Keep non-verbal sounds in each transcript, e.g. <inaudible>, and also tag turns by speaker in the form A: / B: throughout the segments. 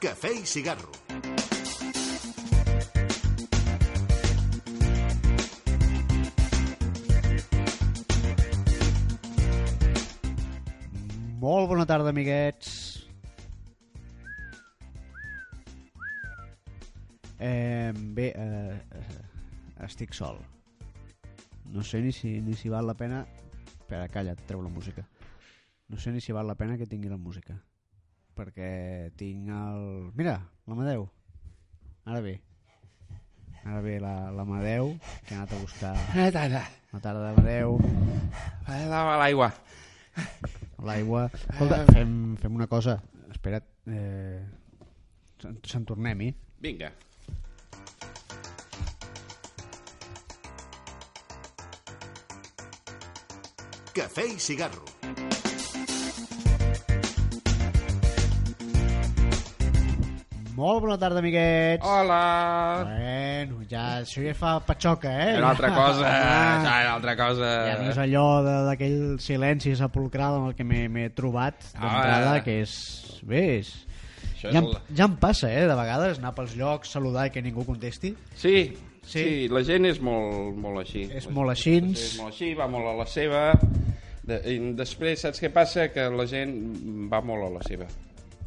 A: Café y cigarro.
B: Molt bona tarda, amiguets. Eh, bé, eh, eh, estic sol. No sé ni si, ni si val la pena... Espera, calla, treu la música. No sé ni si val la pena que tingui la música. Perquè tinc el... Mira, l'Amadeu. Ara bé. Ara bé, la- l'Amadeu, que ha anat a buscar...
C: Bona tarda.
B: Bona tarda, Amadeu.
C: Vaig lavar l'aigua.
B: L'aigua... Escolta,
C: Eh.
B: fem, fem una cosa. Espera't. Eh... Se'n se'n tornem-hi.
C: Vinga.
A: Café y cigarro.
B: Molt bona tarda, amiguets.
C: Hola.
B: Bueno, ja, això ja fa patxoca, eh?
C: Era una altra
B: <laughs>
C: cosa.
B: Ah,
C: Això era una altra cosa.
B: ja no és allò de- d'aquell silenci sepulcral amb el que m'he m'he trobat d'entrada,
C: Ah.
B: que és... Bé, és...
C: Això és
B: Ja, em-
C: el-
B: ja em passa, eh, de vegades, anar pels llocs, saludar i que ningú contesti.
C: Sí,
B: Sí.
C: sí. sí, la gent és molt, molt així.
B: És
C: La-
B: molt així.
C: És molt així, va molt a la seva. De, i després, saps què passa? Que la gent va molt a la seva.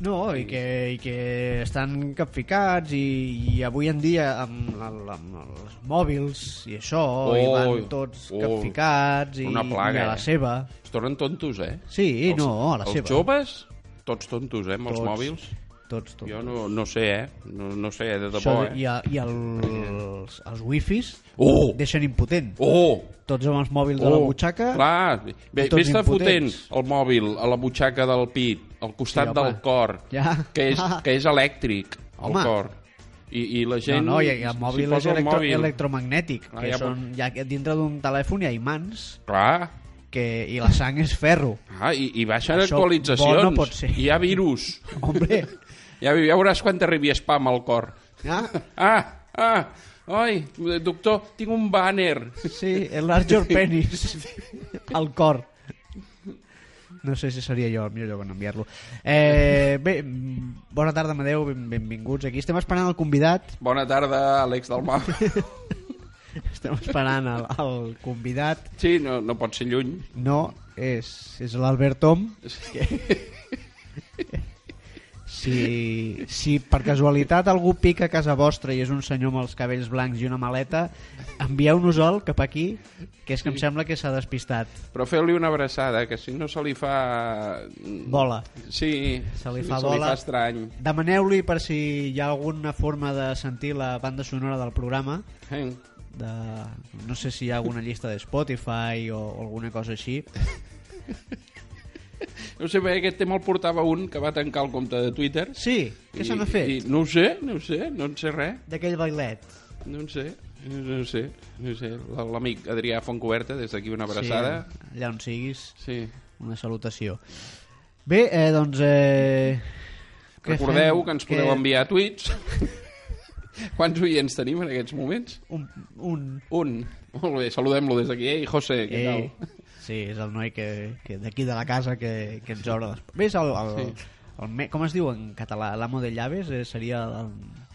B: No, i que, i que estan capficats i, i avui en dia amb, amb, amb els mòbils i això, oh, i van
C: Ui,
B: tots
C: ui,
B: capficats i,
C: una plaga,
B: i a la
C: eh?
B: seva.
C: Es tornen tontos, eh?
B: Sí, no, a la
C: els
B: seva.
C: joves, tots tontos, eh? Amb els
B: Tots.
C: mòbils.
B: Tots, tots.
C: Jo no, no sé, eh? No, no sé, de debò,
B: Això,
C: eh?
B: I, a, i els, els wifis
C: Oh!
B: deixen impotent.
C: Oh!
B: Tots amb els mòbils de la butxaca.
C: Clar, bé,
B: tots
C: vés te fotent
B: impotents.
C: el mòbil a la butxaca del pit, al costat
B: Sí,
C: sí,
B: home.
C: del cor,
B: Ja.
C: que, és,
B: <laughs>
C: que és elèctric, el
B: Home.
C: cor. I, I la gent...
B: no, no, i el mòbil
C: s'hi
B: és
C: posa el
B: electro,
C: mòbil.
B: electromagnètic.
C: Ah,
B: que
C: ja
B: són, ja, que dintre d'un telèfon hi ha imants
C: Clar,
B: que, i la sang és ferro.
C: ah, i, i baixen
B: Això
C: actualitzacions.
B: bo no pot ser.
C: Hi ha virus.
B: <laughs> Hombre,
C: Ja, ve- ja veuràs quan t'arribi spam al cor.
B: ja?
C: Ah, ah, oi, doctor, tinc un banner.
B: Sí, el larger penis. Al cor. No sé si seria jo el millor lloc on enviar-lo. Eh, bé, mm, bona tarda, Amadeu, ben, benvinguts. Aquí estem esperant el convidat,
C: Bona tarda, Àlex del
B: <laughs>
C: Mar.
B: estem esperant el, el convidat.
C: Sí, no, no pot ser lluny.
B: No, és, és l'Albert Tom. <laughs> Si, si per casualitat algú pica a casa vostra i és un senyor amb els cabells blancs i una maleta, envieu-nos el cap aquí, que és que em sembla que s'ha despistat.
C: Però feu-li una abraçada, que si no se li fa...
B: Bola.
C: Sí,
B: Se li
C: sí,
B: fa
C: se
B: bola.
C: Li fa estrany.
B: Demaneu-li per si hi ha alguna forma de sentir la banda sonora del programa.
C: Eh?
B: De... No sé si hi ha alguna llista de Spotify o, o alguna cosa així.
C: No sé, bé, aquest tema el portava un que va tancar el compte de Twitter.
B: Sí, què
C: I-
B: se n'ha
C: I,
B: fet?
C: no ho sé, no ho sé, no en sé res,
B: D'aquell bailet.
C: no en sé, no, no ho sé, no ho sé. L- L'amic Adrià Fontcoberta, des d'aquí una abraçada.
B: Sí, allà on siguis,
C: Sí.
B: una salutació. Bé, eh, doncs... Eh... què
C: Recordeu
B: fem?
C: que ens podeu enviar tuits. <laughs> Quants oients tenim en aquests moments?
B: Un, un...
C: Un. Molt bé, saludem-lo des d'aquí. Ei, José, què
B: Ei,
C: tal?
B: eh, sí, és el noi que, que d'aquí de la casa que, que ens obre les... Bé, és el, el,
C: Sí.
B: el, me- com es diu en català? L'amo de llaves eh, seria el,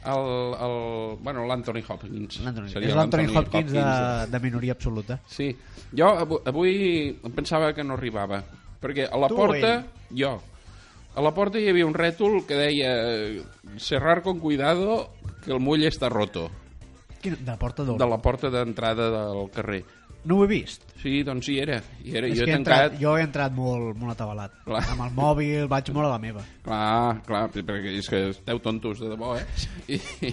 C: El, el, bueno, l'Anthony Hopkins.
B: L'Anthony-
C: Seria eh?
B: és l'Anthony Hopkins, de,
C: de-
B: de minoria absoluta.
C: Sí, jo avu- avui em pensava que no arribava, perquè a la
B: Tu o
C: porta, jo, a la porta hi havia un rètol que deia «Cerrar con cuidado, que el mull està roto»,
B: Quina, de la porta d'or.
C: de la porta d'entrada del carrer.
B: No ho he vist.
C: Sí, doncs hi era, hi era.
B: És
C: Jo he
B: que he
C: tancat...
B: entrat, jo he entrat molt, molt atabalat.
C: Clar.
B: Amb el mòbil vaig molt a la meva.
C: Clar, clar, perquè és que esteu tontos de debò, eh? I,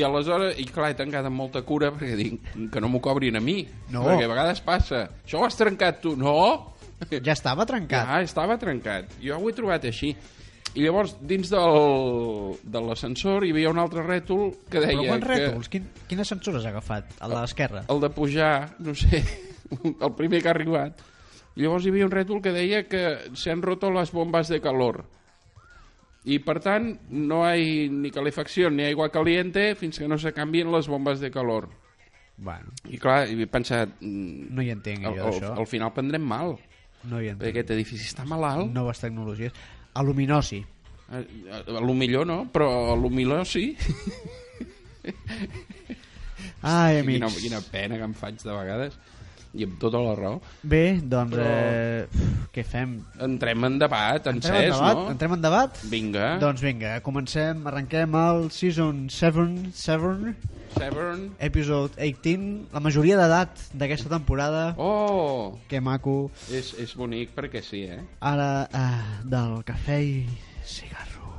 C: i aleshores, i clar, he tancat amb molta cura perquè dic que no m'ho cobrin a mi.
B: No.
C: Perquè a vegades passa. Això ho has trencat tu. No!
B: Ja estava trencat.
C: Ah, estava trencat. Jo ho he trobat així. I llavors, dins del, de l'ascensor hi havia un altre rètol que deia...
B: Però quants
C: que
B: rètols? Quin, quines censures ha agafat? El de l'esquerra?
C: El de pujar, no sé, <laughs> el primer que ha arribat. I llavors hi havia un rètol que deia que se han roto les bombes de calor. I, per tant, no hay ni calefacció ni aigua caliente fins que no se canvien les bombes de calor.
B: Bueno,
C: I, clar, he pensat... mm,
B: no hi entenc,
C: Al,
B: jo,
C: al,
B: d'això.
C: al final prendrem mal,
B: No hi
C: perquè
B: entenc.
C: aquest edifici està malalt.
B: Noves tecnologies. Aluminosi.
C: A, a, a Eh, lo millor no, però a lo millor sí.
B: Ai, amics.
C: Quina, quina pena que em faig de vegades. I amb tota la raó.
B: Bé, doncs,
C: Però-
B: eh, pf, què fem?
C: Entrem en debat,
B: Entrem en
C: encès,
B: debat?
C: no? Ah.
B: Entrem en debat?
C: Vinga.
B: Doncs vinga, comencem, arrenquem el Season 7, 7
C: Severn.
B: Episode 18, la majoria d'edat d'aquesta temporada.
C: Oh,
B: Que maco.
C: és, és bonic perquè sí, eh?
B: Ara, ah, del cafè i cigarro.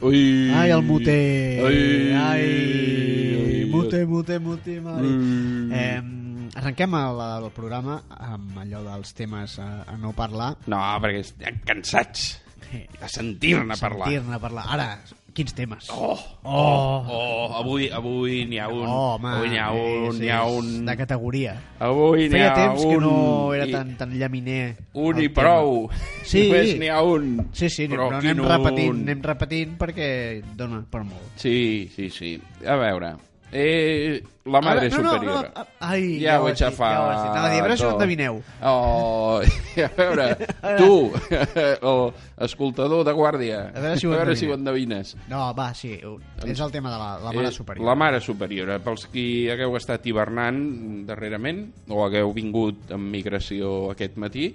C: Ui.
B: Ai, el mute.
C: Ai.
B: Ai,
C: Ai.
B: mute, mute, mute, mare.
C: Mm.
B: Eh, arrenquem el, el programa amb allò dels temes a, a no parlar.
C: No, perquè estem cansats de sentir-ne parlar.
B: Sentir-ne parlar. Ara, quins temes?
C: Oh,
B: Oh.
C: oh, avui avui n'hi ha un.
B: Oh, home,
C: avui n'hi ha un,
B: és-
C: n'hi ha
B: és
C: un.
B: De categoria.
C: Avui n'hi
B: Feia
C: ha
B: temps
C: un.
B: que no era
C: i-
B: tan, tan llaminer.
C: Un
B: el
C: i
B: tema.
C: prou.
B: Sí.
C: Només n'hi ha un.
B: Sí, sí, però, però
C: quin
B: anem
C: un.
B: repetint, anem repetint perquè dona per molt.
C: Sí, sí, sí. A veure. Eh, la madre
B: Ara- no, no,
C: superior.
B: no, ai, ja
C: ja, ho
B: ho
C: he
B: has dit,
C: aixafat.
B: ja ho has dit. Anava a dir, a veure si ho
C: tot.
B: endevineu.
C: Oh, <laughs> a veure,
B: <laughs>
C: tu, <laughs> el escoltador de guàrdia,
B: A veure si ho
C: a veure si ho endevines.
B: No, va, sí, ho- és el tema de la, la
C: Eh,
B: mare superior.
C: La mare superiora, pels qui hagueu estat hivernant darrerament o hagueu vingut en migració aquest matí,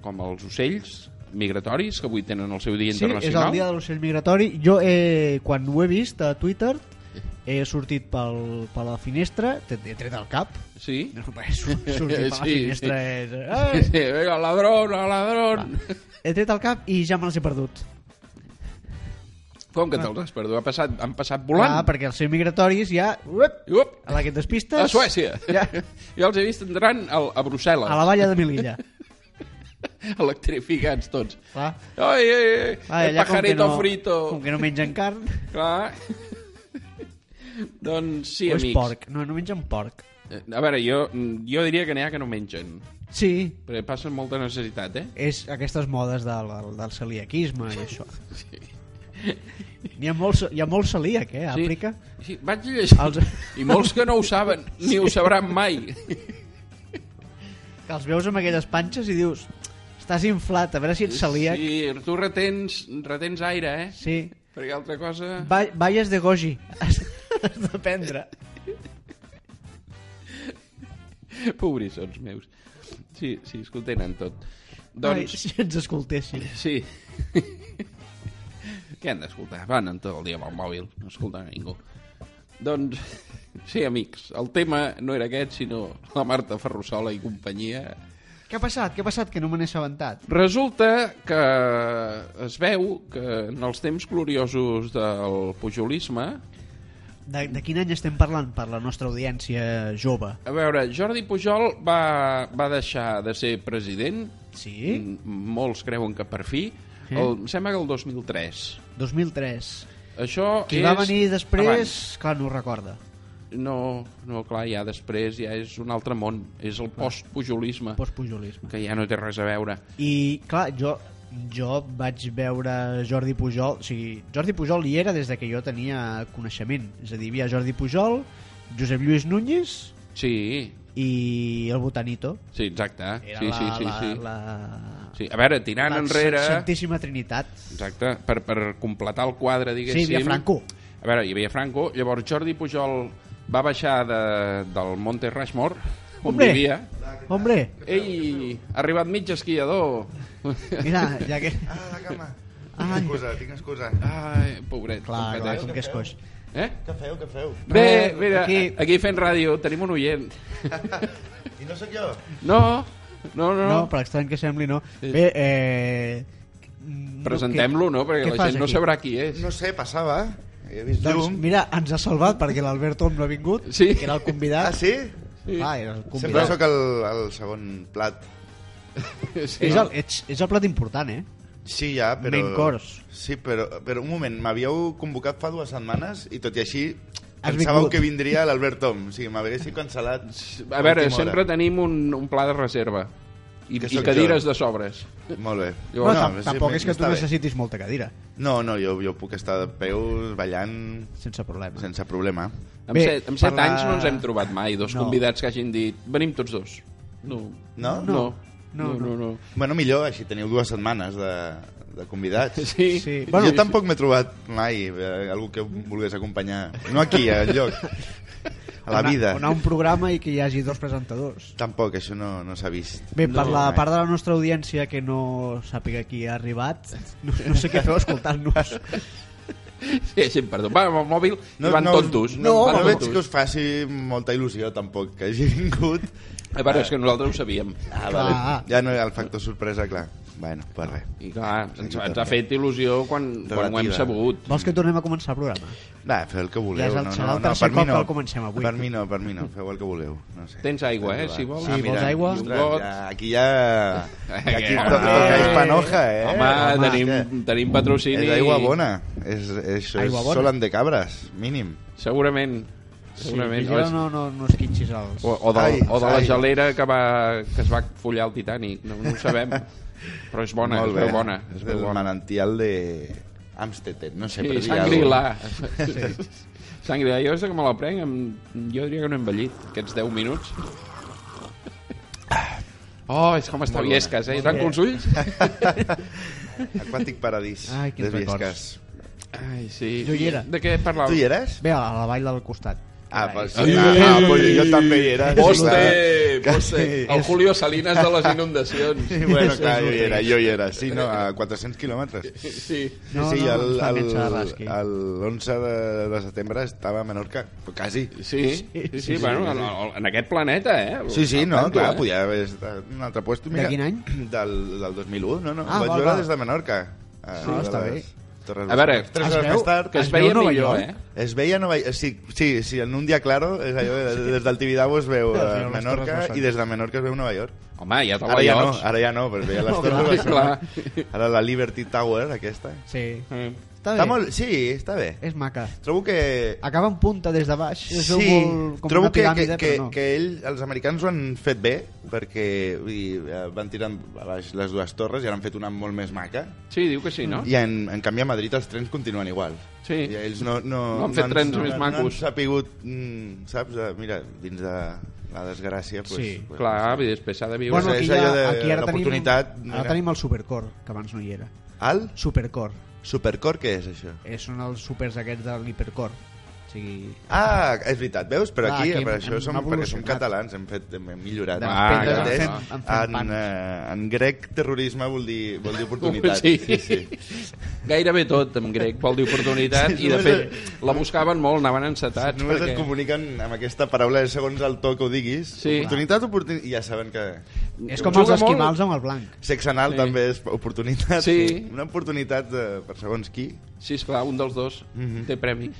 C: com els ocells migratoris, que avui tenen el seu dia
B: Sí, és el
C: internacional.
B: dia de l'ocell migratori. Jo, eh, quan ho he vist a Twitter, he sortit pel, per la finestra, t'he t'he tret el cap, <laughs>
C: Sí?
B: no, he sur- sortit per la
C: Sí,
B: finestra,
C: Sí,
B: és... Eh,
C: sí, vinga, ladrón, ladrón.
B: he tret el cap i ja me'ls he perdut.
C: Com que te'ls has perdut? Ha passat, han passat volant?
B: Ah, perquè els ocells migratoris ja... Uep,
C: I Up,
B: a la que et despistes...
C: a Suècia. <laughs>
B: Ja,
C: Jo els he vist entrant al, a Brussel·les,
B: a la valla de Melilla.
C: electrificats tots.
B: Clar.
C: Ai, ai, ai,
B: Ah,
C: el
B: allà com que
C: pajarito
B: no,
C: frito.
B: Com que no mengen carn,
C: Clar. <laughs> doncs sí,
B: o és
C: amics.
B: porc. No, no mengen porc.
C: Eh, A veure, jo, jo diria que n'hi ha que no mengen,
B: Sí,
C: perquè passen molta necessitat, eh?
B: és aquestes modes del, del, del celiaquisme i
C: <laughs>
B: això. N'hi ha, molt, ce- hi ha molt celíac, eh, a Àfrica.
C: Sí, vaig llegir.
B: Els-
C: I molts que no ho saben, ni ho sabran mai.
B: Que els veus amb aquelles panxes i dius estàs inflat, a veure si ets celíac.
C: Sí, tu retens, retens aire, eh?
B: Sí.
C: Perquè altra cosa...
B: Va, valles de goji. <laughs> Has, has d'aprendre.
C: Eh, <laughs> Pobrissons meus. Sí, sí, es que ho tenen tot.
B: Ai,
C: Doncs,
B: si ens escoltessin.
C: sí. <laughs> Què han d'escoltar? Van en tot el dia amb el mòbil, no escolten a ningú. Doncs, <laughs> sí, amics, el tema no era aquest, sinó la Marta Ferrusola i companyia.
B: Què ha passat? Què ha passat que no me n'he assabentat?
C: Resulta que es veu que en els temps gloriosos del pujolisme...
B: De, de quin any estem parlant per la nostra audiència jove?
C: A veure, Jordi Pujol va, va deixar de ser president,
B: Sí?
C: Mm, molts creuen que per fi,
B: Sí.
C: el, em sembla que el 2003.
B: 2003.
C: Això
B: Qui
C: és...
B: va venir després,
C: abans.
B: clar, no ho recorda.
C: No, no, clar, ja després ja és un altre món. És el postpujolisme,
B: Postpujolisme.
C: que ja no té res a veure.
B: I, clar, jo, jo vaig veure Jordi Pujol... O sigui, Jordi Pujol hi era des de que jo tenia coneixement. És a dir, hi havia Jordi Pujol, Josep Lluís Núñez
C: Sí,
B: i el Botanito.
C: sí, exacte.
B: Era
C: sí,
B: la,
C: sí, sí,
B: la,
C: sí.
B: la,
C: sí. A veure, tirant
B: la
C: enrere...
B: Santíssima Trinitat.
C: Exacte, per, per completar el quadre,
B: Sí,
C: diguéssim.
B: via Franco.
C: A veure, hi havia Franco, llavors Jordi Pujol va baixar de, del Monte Rushmore, on
B: Hombre,
C: vivia.
B: hombre,
C: Ei, ha arribat mig esquiador.
B: mira, ja
C: <laughs>
B: que...
D: Ah, la cama. Tinc
B: Ai.
D: excusa, tinc excusa.
C: Ai, pobret.
B: Clar, clar,
C: competeix.
B: com que és coix.
C: Eh?
D: Què feu, què feu?
C: Bé, mira, aquí...
B: aquí-
C: aquí fent ràdio tenim un oient.
D: I no sóc jo?
C: No, no, no.
B: No,
C: no
B: per estrany que sembli, no. Bé, eh... no,
C: Presentem-lo,
B: què-
C: no? Perquè
B: què
C: la
B: fas
C: gent no
B: aquí?
C: sabrà qui és.
D: No sé, passava. He vist
B: Doncs
D: llum.
B: mira, ens ha salvat perquè l'Alberto no ha vingut,
C: Sí.
B: que era el convidat.
D: Ah, sí?
B: Ah, era el
D: Sempre
B: convidat.
D: sóc el, el segon plat.
C: Sí,
B: És
C: no?
B: el, ets, és el plat important, eh?
D: Sí, ja, però...
B: Main course.
D: Sí, però, però un moment, m'havíeu convocat fa dues setmanes i tot i així
B: Has
D: pensàveu
B: vingut.
D: que vindria l'Albert Tom. O sigui, m'haguéssiu cancel·lat.
C: A veure,
D: última hora.
C: sempre tenim un, un pla de reserva. i,
D: Que
C: i
D: sóc
C: cadires
D: jo.
C: de sobres.
D: Molt bé.
C: Jo-
B: No,
C: No,
B: tam-
D: sí,
B: tampoc és que tu
D: està bé.
B: necessitis molta cadira,
D: No, no, jo, jo puc estar de peus ballant
B: sense problema.
D: sense problema.
C: Amb,
B: Bé,
C: set, amb set
B: parlar-
C: anys no ens hem trobat mai dos
B: No.
C: no. convidats que hagin dit venim tots dos. No.
D: No?
C: No.
B: No,
C: No, no, no.
D: Bueno, millor, així teniu dues setmanes de, de convidats.
C: Sí.
B: Sí.
D: Bueno,
B: Sí,
D: jo tampoc m'he trobat mai eh, algú que em volgués acompanyar. No aquí, a lloc. A la
B: Anar-
D: vida.
B: Anar a un programa i que hi hagi dos presentadors.
D: Tampoc, això no, no s'ha vist.
B: Bé, per
D: No, eh.
B: la
D: mai.
B: part de la nostra audiència que no sàpiga qui ha arribat, no, no sé què feu escoltant-nos.
C: Sí, sí, perdó. Va amb el mòbil no, i van
D: no,
C: eh. tontos.
D: No, no,
C: van
D: no veig
C: tontos.
D: que us faci molta il·lusió, tampoc, que hagi vingut.
C: A veure, Eh, és que nosaltres ho sabíem.
D: Ah,
B: vale.
D: Ja no hi ha el factor sorpresa, clar. Bueno, per res.
C: I clar, ens, ens ha fet il·lusió quan, quan ho hem
D: Relativa.
C: sabut.
B: Vols que tornem a començar el programa?
D: Va, feu el que
B: Ja és
D: voleu.
B: el-
D: no,
B: serà
D: no,
B: el
D: no,
B: tercer
D: per
B: cop
D: mi no.
B: que el comencem avui.
D: Per mi no, per mi no. Feu el que voleu. No sé.
C: Tens aigua, eh, si vols.
B: Sí, vols
D: mira,
B: aigua?
D: ostres,
C: I un got.
D: ja, aquí
C: <laughs>
D: ja... Aquí
C: Eh, Home.
D: to- tocáis panoja, eh?
C: Home, home tenim,
D: és que
C: tenim patrocini.
D: És aigua bona. És, és, això
B: Aigua
D: és
B: bona.
D: solan de cabres, mínim.
C: Segurament. Segurament.
B: vigila, no, no, no esquitxis els...
C: O, o, de,
D: Ai,
C: o de la
D: ai.
C: gelera que, va, que es va follar el Titanic, no, no ho
D: <laughs>
C: sabem. Però és bona,
D: Molt
C: és
D: bé.
C: veu bona.
D: És
C: És
D: del
C: veu bona.
D: manantial de... Amstetten, no sé,
C: Sí,
D: per dir
C: sang
D: alguna
C: grilà. <laughs> Sang grilà. Jo des que me la prenc, em... jo diria que no he envellit aquests 10 minuts. Oh, és com està viesques, eh? I tanco els ulls.
D: cosa. Aquàtic Paradís,
B: Ai, quins
D: de Viescas.
B: records.
C: Ai, sí.
B: Jo hi era.
C: De què parlàvem?
D: Tu hi eres?
B: Bé, a la vall del costat.
D: Ah, pues,
C: Ai.
D: ah, ah, pues jo també hi era. sí,
C: Poste,
D: clar.
C: poste. El Julio Salinas de les inundacions.
D: Sí, bueno, clar, jo hi era, jo hi era. Sí, no, a 400 quilòmetres.
C: Sí.
D: Sí,
B: No,
D: sí,
B: no,
D: el,
B: no,
D: el,
B: no, Rasqui.
D: el 11 de, de setembre estava a Menorca, però quasi.
C: Sí, sí, sí, sí, bueno, en, en aquest planeta, eh?
D: Sí, sí,
C: Al
D: no,
C: tanto,
D: clar,
C: eh?
D: podia haver estat en un altre lloc.
B: De quin any?
D: Del, del 2001, no, no.
B: Ah,
D: Ah, Vaig
B: val,
D: veure
B: val.
D: des de Menorca. Ah, A,
B: Sí, està bé.
D: Torres
C: A veure,
D: tres
B: es
D: hores
B: veu
D: més tard...
C: Que
D: Que...
C: es
B: Es
C: veia
B: veu Nova
C: millor,
B: York?
C: eh?
D: Es veia Nova York, sí, sí, sí, en un dia claro, és allò, de- des del Tibidabo es veu
B: es
D: a
B: veuen les
D: Menorca
B: Torres Besson.
D: i des de Menorca es veu Nova York.
C: Home, ja te
D: Ara ja no,
C: veus.
D: ara ja no, però es veia les
B: No,
D: Torres
C: <laughs> clar,
D: Besson. Ara la Liberty Tower, aquesta.
B: Sí.
C: Eh,
B: Està bé.
D: Està molt... Sí, està bé.
B: És maca.
D: Trobo que
B: Acaba en punta des de baix. És
D: Sí,
B: molt, com
D: trobo
B: una piràmide,
D: que, que,
B: però no.
D: que ell, els americans ho han fet bé, perquè vull dir, eh, van tirant a baix les dues torres i ara han fet una molt més maca,
C: Sí, diu que sí, no?
D: i en, en canvi a Madrid els trens continuen igual.
C: Ah. Sí.
D: I ells no, no,
C: No han fet
D: ens-
C: trens més
D: No han
C: macos.
D: sapigut, mm, saps, eh, mira, dins de la desgràcia... Pues,
B: Sí.
D: pues,
C: Clar, i després s'ha de viure.
D: Bueno,
C: Bueno,
D: és
B: ja-
D: allò de
B: ara tenim-
D: l'oportunitat,
B: Ara
D: mira.
B: tenim el supercor, que abans no hi era.
D: El
B: Supercor.
D: supercor, què és això?
B: Eh, són els supers aquests de l'hipercor. O sigui,
D: Ah, és veritat, veus? Però
B: Clar,
D: aquí,
B: aquí
D: per
B: hem-
D: això
B: hem
D: som, perquè som
B: evolucionat.
D: catalans, hem, fet, hem hem millorat.
B: De
C: les pedres en
D: entès?
B: fem- en fem
D: en,
B: pans.
D: eh, en grec, terrorisme vol dir, vol dir oportunitat.
C: Sí. <laughs>
D: sí.
C: Gairebé tot en grec vol dir oportunitat
D: Sí,
C: i, de
D: només
C: fet, la buscaven molt, anaven encetats.
D: Només
C: perquè...
D: et comuniquen amb aquesta paraula segons el to que ho diguis.
C: Sí.
D: Oportunitat, oportunitat... Ja saben que...
B: és com
C: Juga
B: els
C: molt.
B: esquimals amb el blanc.
D: Sexe anal
C: Sí.
D: també és oportunitat.
C: Sí.
D: Una oportunitat de, per segons qui.
C: Sí, esclar, un dels dos
D: Mhm.
C: té premi.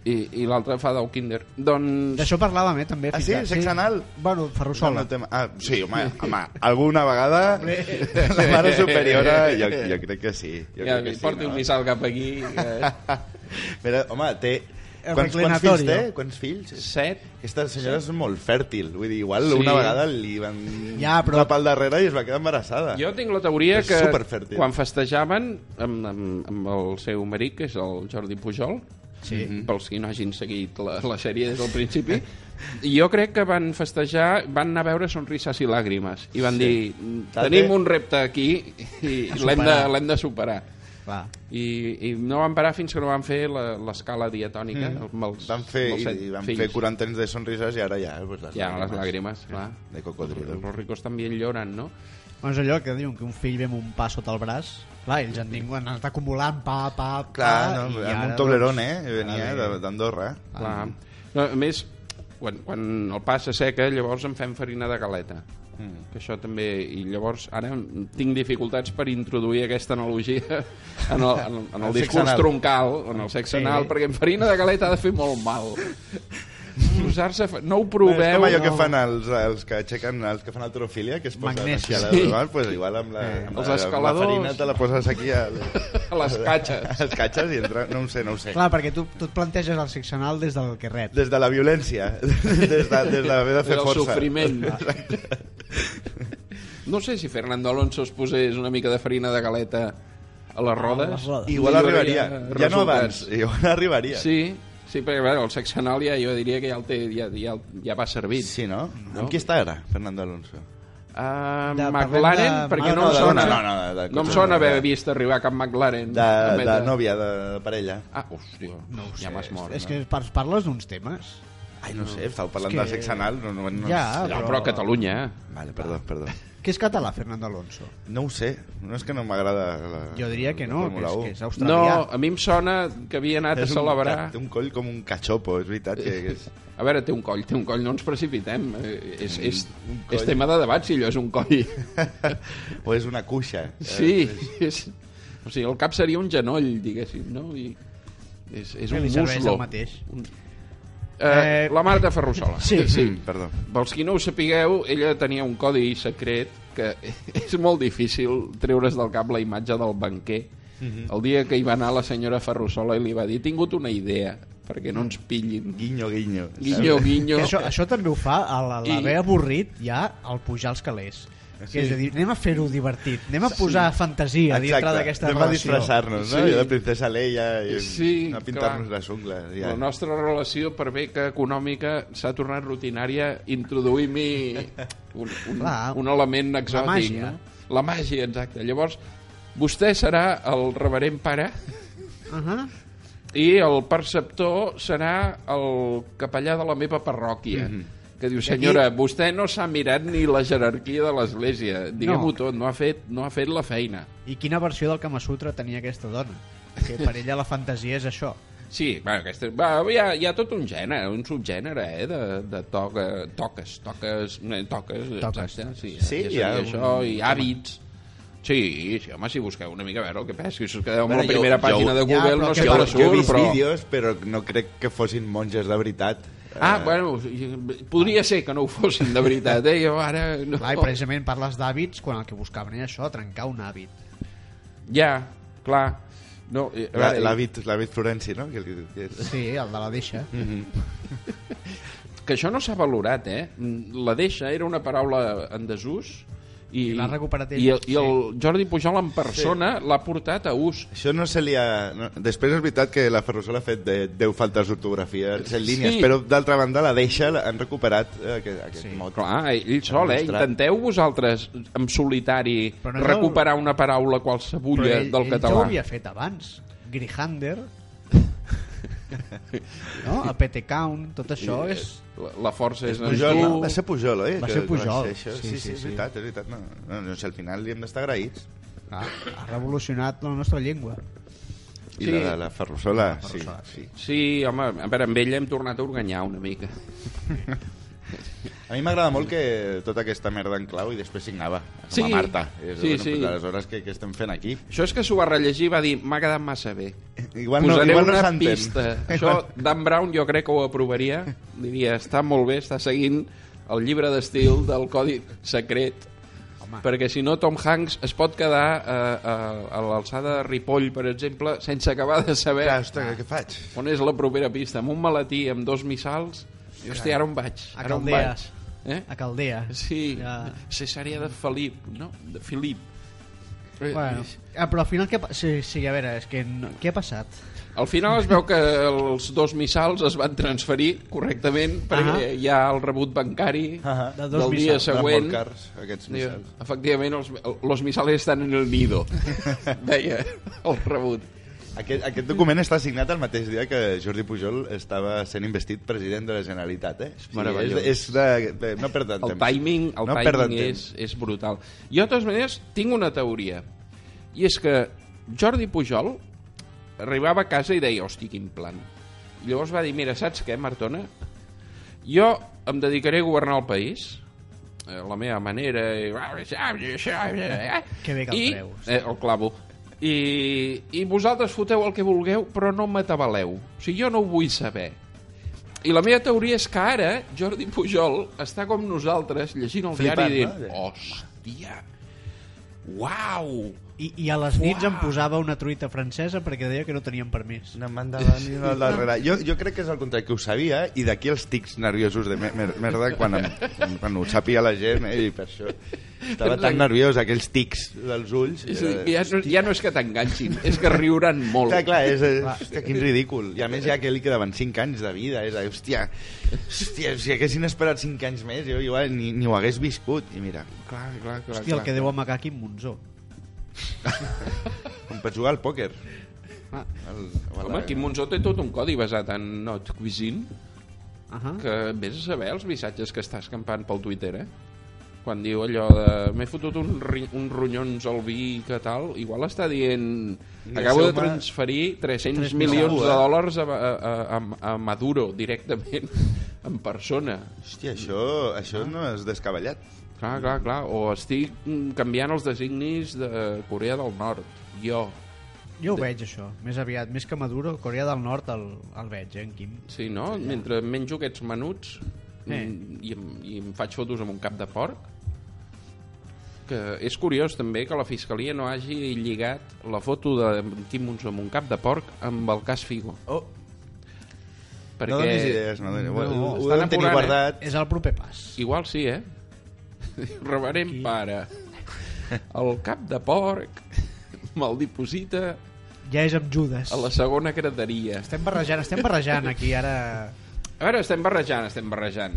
C: I, i l'altre fa del kinder. Doncs...
B: D'això parlàvem, eh, també.
D: Ah,
B: fins
D: sí?
B: ara.
D: Sexe anal?
B: Bueno, Ferrusola.
D: No, no tema- Ah, sí, home, home, alguna vegada la mare superiora, jo, jo crec que sí. Jo
C: Ja,
D: crec que sí,
C: porti
D: no?
C: un missal cap aquí.
D: <laughs>
C: Eh,
D: Mira, home, té...
B: El
D: Quants, quants fills
B: reclinatori,
D: té?
B: no?
D: Quants fills?
C: set.
D: Aquesta senyora és molt fèrtil. Vull dir, igual
C: Sí.
D: una vegada li van
B: Ja, però-
D: una pel darrere i es va quedar embarassada.
C: Jo tinc la teoria
D: És
C: que
D: superfèrtil.
C: quan festejaven amb, amb, amb el seu marit, que és el Jordi Pujol, Mhm.
B: Sí.
C: pels qui no hagin seguit la, la sèrie des del principi,
B: <laughs>
C: jo crec que van festejar, van anar a veure Sonrises i Làgrimes, i van sí. dir,
D: Tate.
C: tenim un repte aquí i
B: <laughs> A
C: l'hem de,
B: superar.
C: l'hem de superar.
B: Va.
C: I, I no van parar fins que no van fer la- l'escala diatònica.
B: Mhm.
C: Mm. Amb els,
D: Van fer,
C: amb els
D: i,
C: set
D: i van
C: fills.
D: fer 40 anys de sonrises i ara ja... Pues, les
C: Ja, les làgrimes, clar.
D: De cocodrilo.
C: Els ricos també en lloren, no?
B: Bueno, és allò que diuen que un fill ve amb un pa sota el braç. Clar, ells en tinguin, han estat acumulant pa, pa, pa...
D: Clar, no,
B: Ah, i
D: amb
B: ara,
D: un Toblerón,
B: doncs,
D: eh? Venia
B: ara ve.
D: de- d'Andorra.
C: Clar. No, a més, quan, quan el pa se seca, llavors en fem farina de galeta. Mm. Que això també... I llavors ara tinc dificultats per introduir aquesta analogia <laughs> en el, en, el- en el,
D: El sexe
C: discurs
D: anal.
C: troncal, en el sexe
B: Sí.
C: anal, perquè en farina de galeta ha de fer molt
D: <laughs>
C: mal. Posar-se... fa- No ho proveu.
D: és com allò que
C: no.
D: fan els, els que aixequen, els que fan alterofília, que es posen
B: Magnesi.
D: així a la
C: Sí.
D: sí. pues igual amb la, amb
C: Eh, Els
D: la,
C: escaladors.
D: la farina te la poses aquí a,
C: A les catxes.
D: <laughs> a les catxes i entra... No ho sé, no ho sé.
B: Clar, perquè tu, tu et planteges el sexe anal des del que rep.
D: Des de la <laughs> violència, des de, des de haver de fer
C: del
D: força.
C: sofriment. No sé si Fernando Alonso es posés una mica de farina de galeta a les rodes.
B: les rodes.
D: Igual arribaria. Ja no abans,
C: resultats.
D: igual arribaria.
C: Sí, sí perquè a veure, el sexenal ja, jo diria que ja, el té, ja, ja, ja va servit.
D: Sí, no? no? Amb qui està ara, Fernando Alonso?
C: Uh,
B: De-
C: McLaren,
B: parlem de-
C: perquè
D: Ah,
C: no,
D: no,
C: em
D: de-
C: sona,
D: no, no, no, de-
C: no em sona haver vist arribar cap McLaren.
D: De,
C: També
D: de nòvia, de, de parella.
C: Ah, hòstia, no
B: ho
C: ja
B: sé,
C: m'has mort.
B: És que par- parles d'uns temes.
D: Ai, no sé, estàveu
B: És
D: parlant que...
B: que-
D: de sexe anal. No, no, no,
B: Ja,
C: No, però a Catalunya, eh?
D: Vale, perdó, perdó.
B: Què és català, Fernando Alonso?
D: No ho sé, no és que no m'agrada la
B: Jo diria que
D: la
B: no, que
D: Fórmula
B: és,
D: 1.
B: que és
C: No,
B: australià.
C: a mi em sona que havia anat a
D: És un-
C: celebrar...
D: Té un coll com un cachopo, és veritat que, que és...
C: A veure, té un coll, té un coll, no ens precipitem. Eh, És, és,
D: Un coll.
C: és tema de debat si allò és un
D: <laughs>
C: coll.
D: o és una cuixa.
C: Sí, és, o sigui, el cap seria un genoll, diguéssim, no? I és, és
B: Que
C: un
B: li serveix
C: muslo.
B: el mateix.
C: Un... Eh,
B: Eh,
C: la Marta Ferrusola.
B: sí.
C: sí.
D: Perdó.
C: Pels qui no ho sapigueu, ella tenia un codi secret que <laughs> és molt difícil treure's del cap la imatge del banquer.
B: Mhm.
C: El dia que hi va anar la senyora Ferrusola i li va dir he tingut una idea perquè no ens pillin.
D: Guinyo, guinyo. saps?
C: Guinyo, guinyo.
B: Que això, això també ho fa a la- l'haver
C: I-
B: avorrit ja al pujar als calés. Que és a dir, anem a fer-ho divertit, anem a posar fantasia
D: Exacte,
B: dintre d'aquesta
D: anem a
B: relació.
D: disfressar-nos, no?
C: Sí.
D: Sí. de princesa Leia, i
C: Sí,
D: a pintar-nos
C: clar.
D: les ungles. Ja.
C: La nostra relació, per bé que econòmica, s'ha tornat rutinària, introduïm-hi un, un,
B: Clar,
C: un element exòtic.
B: màgia.
C: No? La màgia, exacte. Llavors, vostè serà el reverent pare
B: Uh -huh.
C: i el perceptor serà el capellà de la meva parròquia.
D: Mhm.
C: Mm -hmm. Que diu, senyora, aquí... vostè no s'ha mirat ni la jerarquia de l'església. Diguem-ho
B: No.
C: tot, no ha, fet, no ha fet la feina.
B: I quina versió del Kama Sutra tenia aquesta dona? Que per ella la fantasia és això.
C: Sí, bueno, aquesta, va, hi, ha, hi ha tot un gènere, un subgènere, eh, de, de toca, toques, toques, eh, toques,
B: Toques,
C: exacte, sí,
D: Sí,
C: ja
D: hi
C: seria
D: ha un-
C: això, i hàbits. Sí, sí, home, si busqueu una mica a veure el que passa, si us quedeu amb
D: Bueno,
C: la
D: jo-
C: primera
D: jo-
C: pàgina de
B: ja,
C: Google
B: però
C: no
B: que
C: sé
D: jo,
C: on
B: parla-
D: jo he
C: surt,
D: vist
C: però...
D: vídeos, però no crec que fossin monges de veritat.
C: Ah,
D: Eh,
C: bueno, i- podria ser que no ho fossin, de veritat, eh? Jo ara... No.
B: Clar, i precisament parles d'hàbits quan el que buscaven era això, trencar un hàbit.
C: Ja, clar. No, eh, a
D: la-
C: veure,
D: L'hàbit l'hàbit florenci, no? Que, que, que és...
B: Sí, el de la deixa.
C: que això no s'ha valorat, eh? Mm, La deixa era una paraula en desús
B: I
C: i,
B: l'ha recuperat ell,
C: i, el, i el Jordi Pujol en persona sí. l'ha portat a ús.
D: Això no se li ha... No. Després és veritat que la Ferrusola ha fet de 10 faltes d'ortografia en 100
C: Sí.
D: línies, però d'altra banda la deixa, la- han recuperat eh, aquest, aquest
B: Sí.
D: mot.
C: Clar, ell sol, eh?
D: Demostrat.
C: Intenteu vosaltres, en solitari,
B: Però
C: no
B: no és
C: recuperar una paraula qualsevulla
B: ell,
C: del
B: ell ja ho
C: català.
B: havia fet abans.
C: <laughs>
B: Grihander, no? a PT Count, tot això és...
C: Eh, La, la força és, en
D: Pujol,
C: tu.
D: va ser Pujol, oi?
B: Va
D: Que-
B: ser
D: que
B: Pujol.
D: ser això. Sí, sí, sí, és veritat, és veritat. No, no, no, si al final li hem d'estar agraïts.
B: Ah, ha revolucionat la nostra llengua.
C: Sí.
D: I sí. la, la Ferrusola, sí,
B: Ferrusola,
D: sí.
C: Sí, home, a veure, amb ella hem tornat a organyar una mica.
D: A mi m'agrada molt que tota aquesta merda en clau i després signava amb
C: Sí.
D: la Marta. I és,
C: Sí, sí.
D: Pues, aleshores, què, què estem fent aquí?
C: Això és que s'ho va rellegir i va dir m'ha quedat massa bé.
D: Igual no,
C: Posaré
D: igual no
C: una
D: s'entén.
C: pista.
D: <laughs>
C: Això, Dan Brown jo crec que ho aprovaria. Diria, està molt bé, està seguint el llibre d'estil del Codi Secret. Home. Perquè si no, Tom Hanks es pot quedar eh, a, a l'alçada de Ripoll, per exemple, sense acabar de saber
D: Clar, ostres, què faig?
C: on és la propera pista. Amb un maletí, amb dos missals, i hòstia, ara on vaig?
B: A
C: Ara on vaig?
B: Caldeas.
C: Eh?
B: A Caldea.
C: Sí,
B: Ja.
C: Cesarea de Felip, no? De Filip. Eh,
B: Bueno, ah, però al final què... pa- Sí, sí, a veure, és que... No... Què ha passat?
C: Al final es veu que els dos missals es van transferir correctament perquè
B: Ah.
C: hi ha el rebut bancari
D: Ah.
B: De dos
C: del dia
B: missals.
C: següent.
D: Van molt cars, aquests
C: Diu,
D: missals.
C: Efectivament, els, los missals estan en el nido, deia el rebut.
D: Aquest, aquest document està signat el mateix dia que Jordi Pujol estava sent investit president de la Generalitat, eh? És
C: meravellós.
D: és, és de, de, no perden
C: El
D: temps.
C: timing, el
D: no perden
C: timing és,
D: Temps.
C: és brutal. Jo, de totes maneres, tinc una teoria. I és que Jordi Pujol arribava a casa i deia, hosti, quin plan. I llavors va dir, mira, saps què, Martona? Jo em dedicaré a governar el país, eh, a la meva manera, i...
B: Que bé que el
C: eh? I,
B: treus.
C: Eh, el clavo. I, I vosaltres foteu el que vulgueu, però no m'atabaleu. O sigui, jo no ho vull saber. I la meva teoria és que ara Jordi Pujol està com nosaltres llegint el
D: Flipant,
C: diari i
D: no?
C: dient hòstia, uau,
B: I, I a les nits em posava una truita francesa perquè deia que no tenien permís.
D: Una mà endavant i una al darrere. Jo, jo crec que és el contrari, que ho sabia, eh? i d'aquí els tics nerviosos de mer mer- merda quan, em, quan ho sàpiga la gent, eh, i per això estava tan nerviós, aquells tics dels ulls. eh?
C: És a dir, ja, no, ja no és que t'enganxin, és que riuran molt.
D: Clar, clar, és, és, hòstia, quin ridícul. I a més ja que li quedaven 5 anys de vida. És, a dir, hòstia, hòstia, si haguessin esperat 5 anys més, jo igual ni, ni ho hagués viscut. I mira,
C: clar, clar, clar,
B: Hòstia, el que deu amagar aquí en Monzó.
D: com per jugar al pòquer.
B: Ah.
D: El,
C: Home, Quim Monzó té tot un codi basat en Not Cuisine,
B: Uh -huh.
C: que vés a saber els missatges que està escampant pel Twitter, eh? Quan diu allò de... M'he fotut un, ri, un ronyons al vi que tal, igual està dient... Acabo de
D: Deixeu-me-
C: transferir 300
B: Tres
C: milions
D: milions,
C: de
D: eh?"
C: dòlars a, a, a, a Maduro directament, <laughs> en persona.
D: Hòstia, això, això
C: Ah.
D: no és descabellat.
C: Clar, clar, clar. O estic mm, canviant els designis de Corea del Nord. Jo.
B: Jo ho veig, això. Més aviat, més que Maduro, Corea del Nord el, el veig, eh, en Quim.
C: Sí, no? Mentre menjo aquests menuts
B: Eh.
C: mm, i, em, i em faig fotos amb un cap de porc que és curiós també que la fiscalia no hagi lligat la foto de Quim Monzó amb un cap de porc amb el cas Figo
D: Oh,
C: perquè
D: No donis idees, no donis.
B: No,
D: No, ho, ho
C: estan
D: devem tenir
C: apurant, eh?
D: guardat.
B: És el proper pas.
C: igual sí,
B: <laughs>
C: eh? reverent pare el cap de porc me'l diposita
B: Ja és amb Judas.
C: a la segona creteria
B: Estem barrejant, estem barrejant aquí ara...
C: a veure, estem barrejant, estem barrejant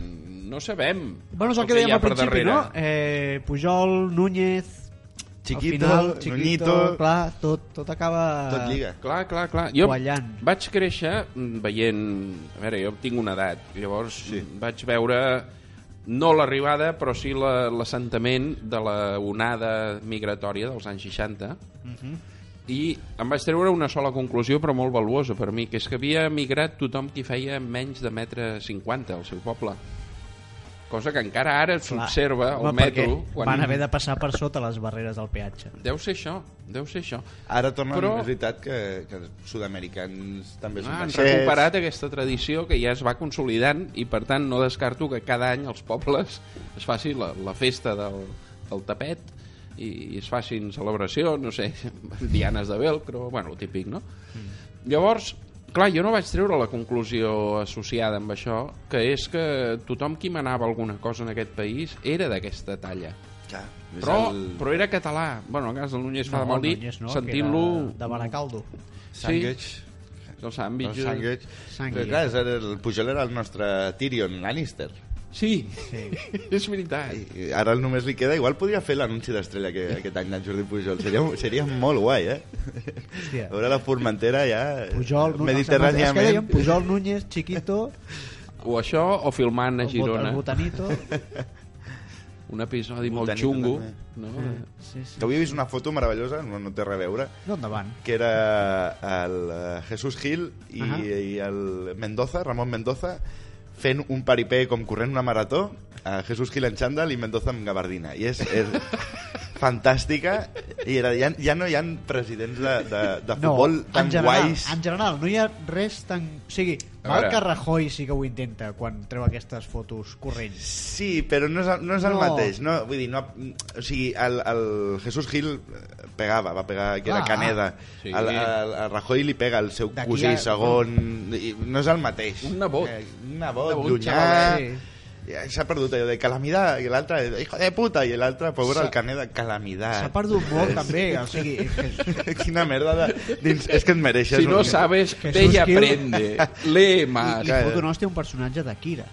C: no sabem
B: Bueno, és el que
C: què hi
B: dèiem
C: ha
B: al
C: per
B: principi,
C: darrere.
B: no? Eh, Pujol, Núñez...
D: Chiquito,
B: al final, chiquito,
D: Nuñito,
B: clar, tot, tot acaba...
C: Ah.
D: tot lliga.
C: Clar, clar, clar. Jo
B: Guallant.
C: vaig créixer mm, veient... A veure, jo tinc una edat, llavors sí. vaig veure no l'arribada, però sí la- l'assentament de la onada migratòria dels anys 60.
B: Mhm.
C: I em vaig treure una sola conclusió, però molt valuosa per mi, que és que havia emigrat tothom qui feia menys de metre 50 al seu poble. Cosa que encara ara
B: Clar.
C: s'observa al
B: Home,
C: metro.
B: perquè Van haver de passar per sota les barreres del peatge.
C: Deu ser això, deu ser això.
D: Ara torna
C: Però-
D: Però... la veritat que, que els sud-americans també són
C: Ah, han
D: baixets.
C: recuperat aquesta tradició que ja es va consolidant i per tant no descarto que cada any els pobles es faci la, la festa del, del tapet i, i es facin celebracions, no sé, <laughs> dianes de velcro, bueno, el típic, no? Mm. Llavors, clar, jo no vaig treure la conclusió associada amb això, que és que tothom qui manava alguna cosa en aquest país era d'aquesta talla.
D: Clar, és
C: Però,
D: el...
C: però era català. Bueno, en el cas del Núñez fa de mal dir,
B: Núñez no, que
C: sentint-lo...
B: era De Baracaldo.
D: Sandwich.
C: El sàndwich.
D: El sandwich.
B: Sandwich.
D: Però clar, és el el Pujol era el nostre Tyrion Lannister.
C: Sí,
B: Sí.
C: és veritat.
D: I ara només li queda... Igual podria fer l'anunci d'estrella que, aquest any del Jordi Pujol. Seria, seria molt guai, eh?
B: Hòstia.
C: <laughs>
D: A veure la Formentera ja...
B: Pujol, Núñez, és que dèiem
D: mediterràniament.
B: Pujol, Núñez, Chiquito,
C: O això, o filmant
B: el
C: a
B: bot-
C: Girona.
B: el
C: <laughs>
B: Botanito...
C: Un episodi molt
D: Botanito
C: xungo.
D: també.
C: No?
B: Sí, sí.
D: Que avui he vist una foto meravellosa, no, no té res a veure,
B: No endavant.
D: que era el eh, Jesús Gil i,
B: Ahà.
D: i el Mendoza, Ramon Mendoza, fent un paripé com corrent una marató, a Jesús Gil en xandall i Mendoza amb gabardina. I és,
B: <laughs>
D: és fantàstica. I era, ja, ja no hi ha presidents de, de, de futbol tan
B: en general,
D: guais.
B: En general, no hi ha res tan... O sigui,
C: A
B: mal
C: veure.
B: que Rajoy sí que ho intenta quan treu aquestes fotos corrents.
D: Sí, però no és, el- no és el
B: No.
D: mateix. No, vull dir, no, o sigui, el, el Jesús Gil eh, pegava, va pegar, que era
B: Clar.
D: Caneda.
C: Sí.
D: Sí. El, el, el Rajoy li pega el seu
B: D'aquí
D: cosí
B: a-
D: segon. I no és el mateix.
C: Un nebot.
B: Eh,
D: un nebot,
C: Un
D: un
C: nebot,
D: llunyà.
B: xavalet.
D: Ja S'ha perdut allò de calamidad, i l'altre, hijo de puta, i l'altre, pobre,
B: S'ha-
D: el Caneda, calamidad.
B: S'ha
D: <laughs>
B: perdut molt, també. O sigui, Jesús,
D: Quina merda de... Dins, és que et mereixes...
C: Si no
D: un-
C: sabes,
B: Jesús
C: ella
B: Gil.
C: aprende. Lee más.
B: I, i fot un hòstia un personatge de Kira.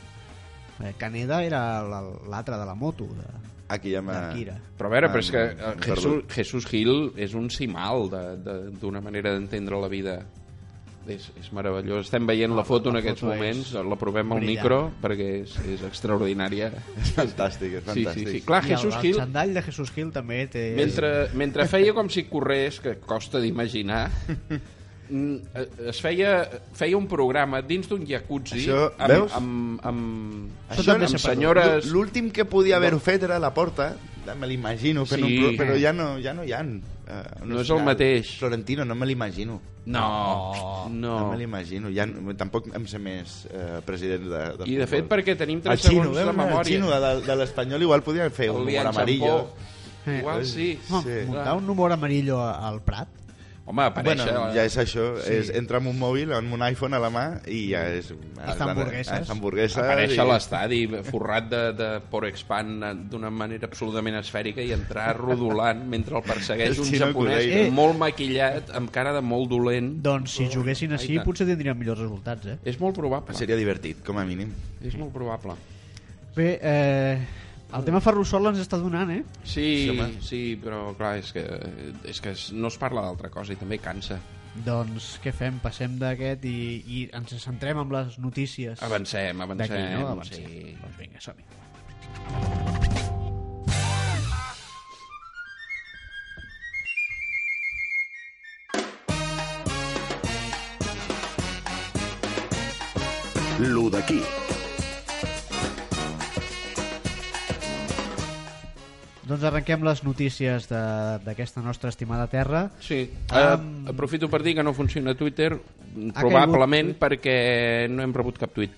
B: Eh, Caneda era la- l'altre de la moto, de,
D: Aquí ja
B: de
D: m'ha...
B: Kira.
C: Però a veure, però és que eh,
D: Ah,
C: Jesús,
D: perdó.
C: Jesús Gil és un cimal de- de- d'una manera d'entendre la vida. És, és meravellós. Estem veient la foto en
B: Ah, la
C: aquests
B: foto
C: moments,
B: és
C: la provem al
B: brillant.
C: micro, perquè és, és extraordinària.
D: <laughs> És fantàstic,
C: Sí,
D: és
C: sí,
D: fantàstic.
C: sí. Clar,
B: I
C: Jesús
B: el,
C: Gil
B: El xandall de Jesús Gil també té...
C: Mentre, mentre feia com si corrés, que costa d'imaginar, mm, eh, es feia, feia un programa dins d'un jacuzzi
D: Això,
C: amb,
D: veus?
C: amb, amb,
B: Això
C: amb,
B: també
C: amb
B: s'ha perdut.
C: senyores...
D: L- L'últim que podia haver-ho fet era la porta, ja me l'imagino, fent
C: Sí.
D: un pro... però ja no, ja no hi ha. eh, un
C: No és el
D: final.
C: mateix.
D: Florentino, no me l'imagino.
C: No,
D: No. no me
C: no.
D: l'imagino. Ja, no- tampoc em sé més eh, president de, de
C: I de fet, perquè tenim 3
D: el xino,
C: segons de
D: veus? El xino
C: memòria.
D: de, de l'espanyol igual podia fer
C: El
D: un
C: Lian
D: humor amarillo. Eh,
C: Champó. Igual sí. Ah.
B: Home,
D: Sí.
B: muntar un número amarillo a- al Prat
C: Home, apareix...
D: Bueno, ja és això,
B: Sí.
D: sí. és, entra amb un mòbil, amb un iPhone a la mà i ja és... has d'anar-
B: hamburgueses.
D: has hamburgueses
C: apareix
D: i-
C: a l'estadi forrat de, de Porexpan d'una manera absolutament esfèrica i entrar rodolant mentre el persegueix
D: El
C: un
D: Chino
C: japonès
D: Kurei.
B: Eh.
C: molt maquillat, amb cara de molt dolent.
B: doncs
C: Oh,
B: si juguessin així
C: Aita.
B: potser tindrien millors resultats eh?
C: És molt probable.
D: Seria divertit, com a mínim.
C: És molt probable.
B: bé, eh, el tema Ferrusola ens està donant eh?
C: Sí,
D: Sí,
C: sí,
D: home.
C: però clar, és que, és que es- no es parla d'altra cosa i també cansa.
B: doncs què fem, passem d'aquest i, i ens centrem amb les notícies
C: Avancem, avancem.
B: d'aquí, no? avancem,
C: Sí.
B: doncs vinga, som-hi
A: Lo d'aquí.
B: doncs arrenquem les notícies de- d'aquesta nostra estimada terra
C: Sí,
B: Am-
C: um... aprofito per dir que no funciona Twitter, probablement perquè no hem rebut cap tuit.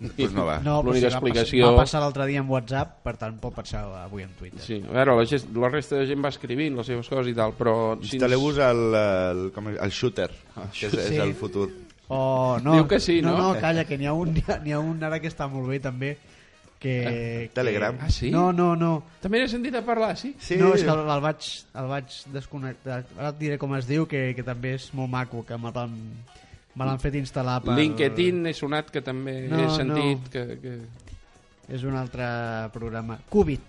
D: Pues Doncs no va.
B: no, però
C: Ah,
B: sí,
C: L'única
B: va
C: explicació-
B: passar, va passar l'altre dia en Whatsapp per tant pot passar avui en Twitter
C: Sí, a veure, la, gest, la resta de gent va escrivint les seves coses i tal, però... si ens-
D: Instal·leu-vos el, el, com és, el shooter, que és, és
B: Sí.
D: el futur.
B: O no,
C: Diu que sí,
B: No,
C: no?
B: no calla, que n'hi ha, un, n'hi ha un ara que està molt bé també. Que,
D: Telegram.
B: Que...
C: Ah, sí?
B: No, no, no.
C: També n'he sentit a parlar, sí?
D: Sí,
B: No, és que el, el, vaig, el vaig desconnectar. Ara et diré com es diu, que, que també és molt maco, que me l'han me l'han fet instal·lar per...
C: LinkedIn he sonat que també
B: No,
C: he sentit
B: no.
C: que... que...
B: És un altre programa. Qubit.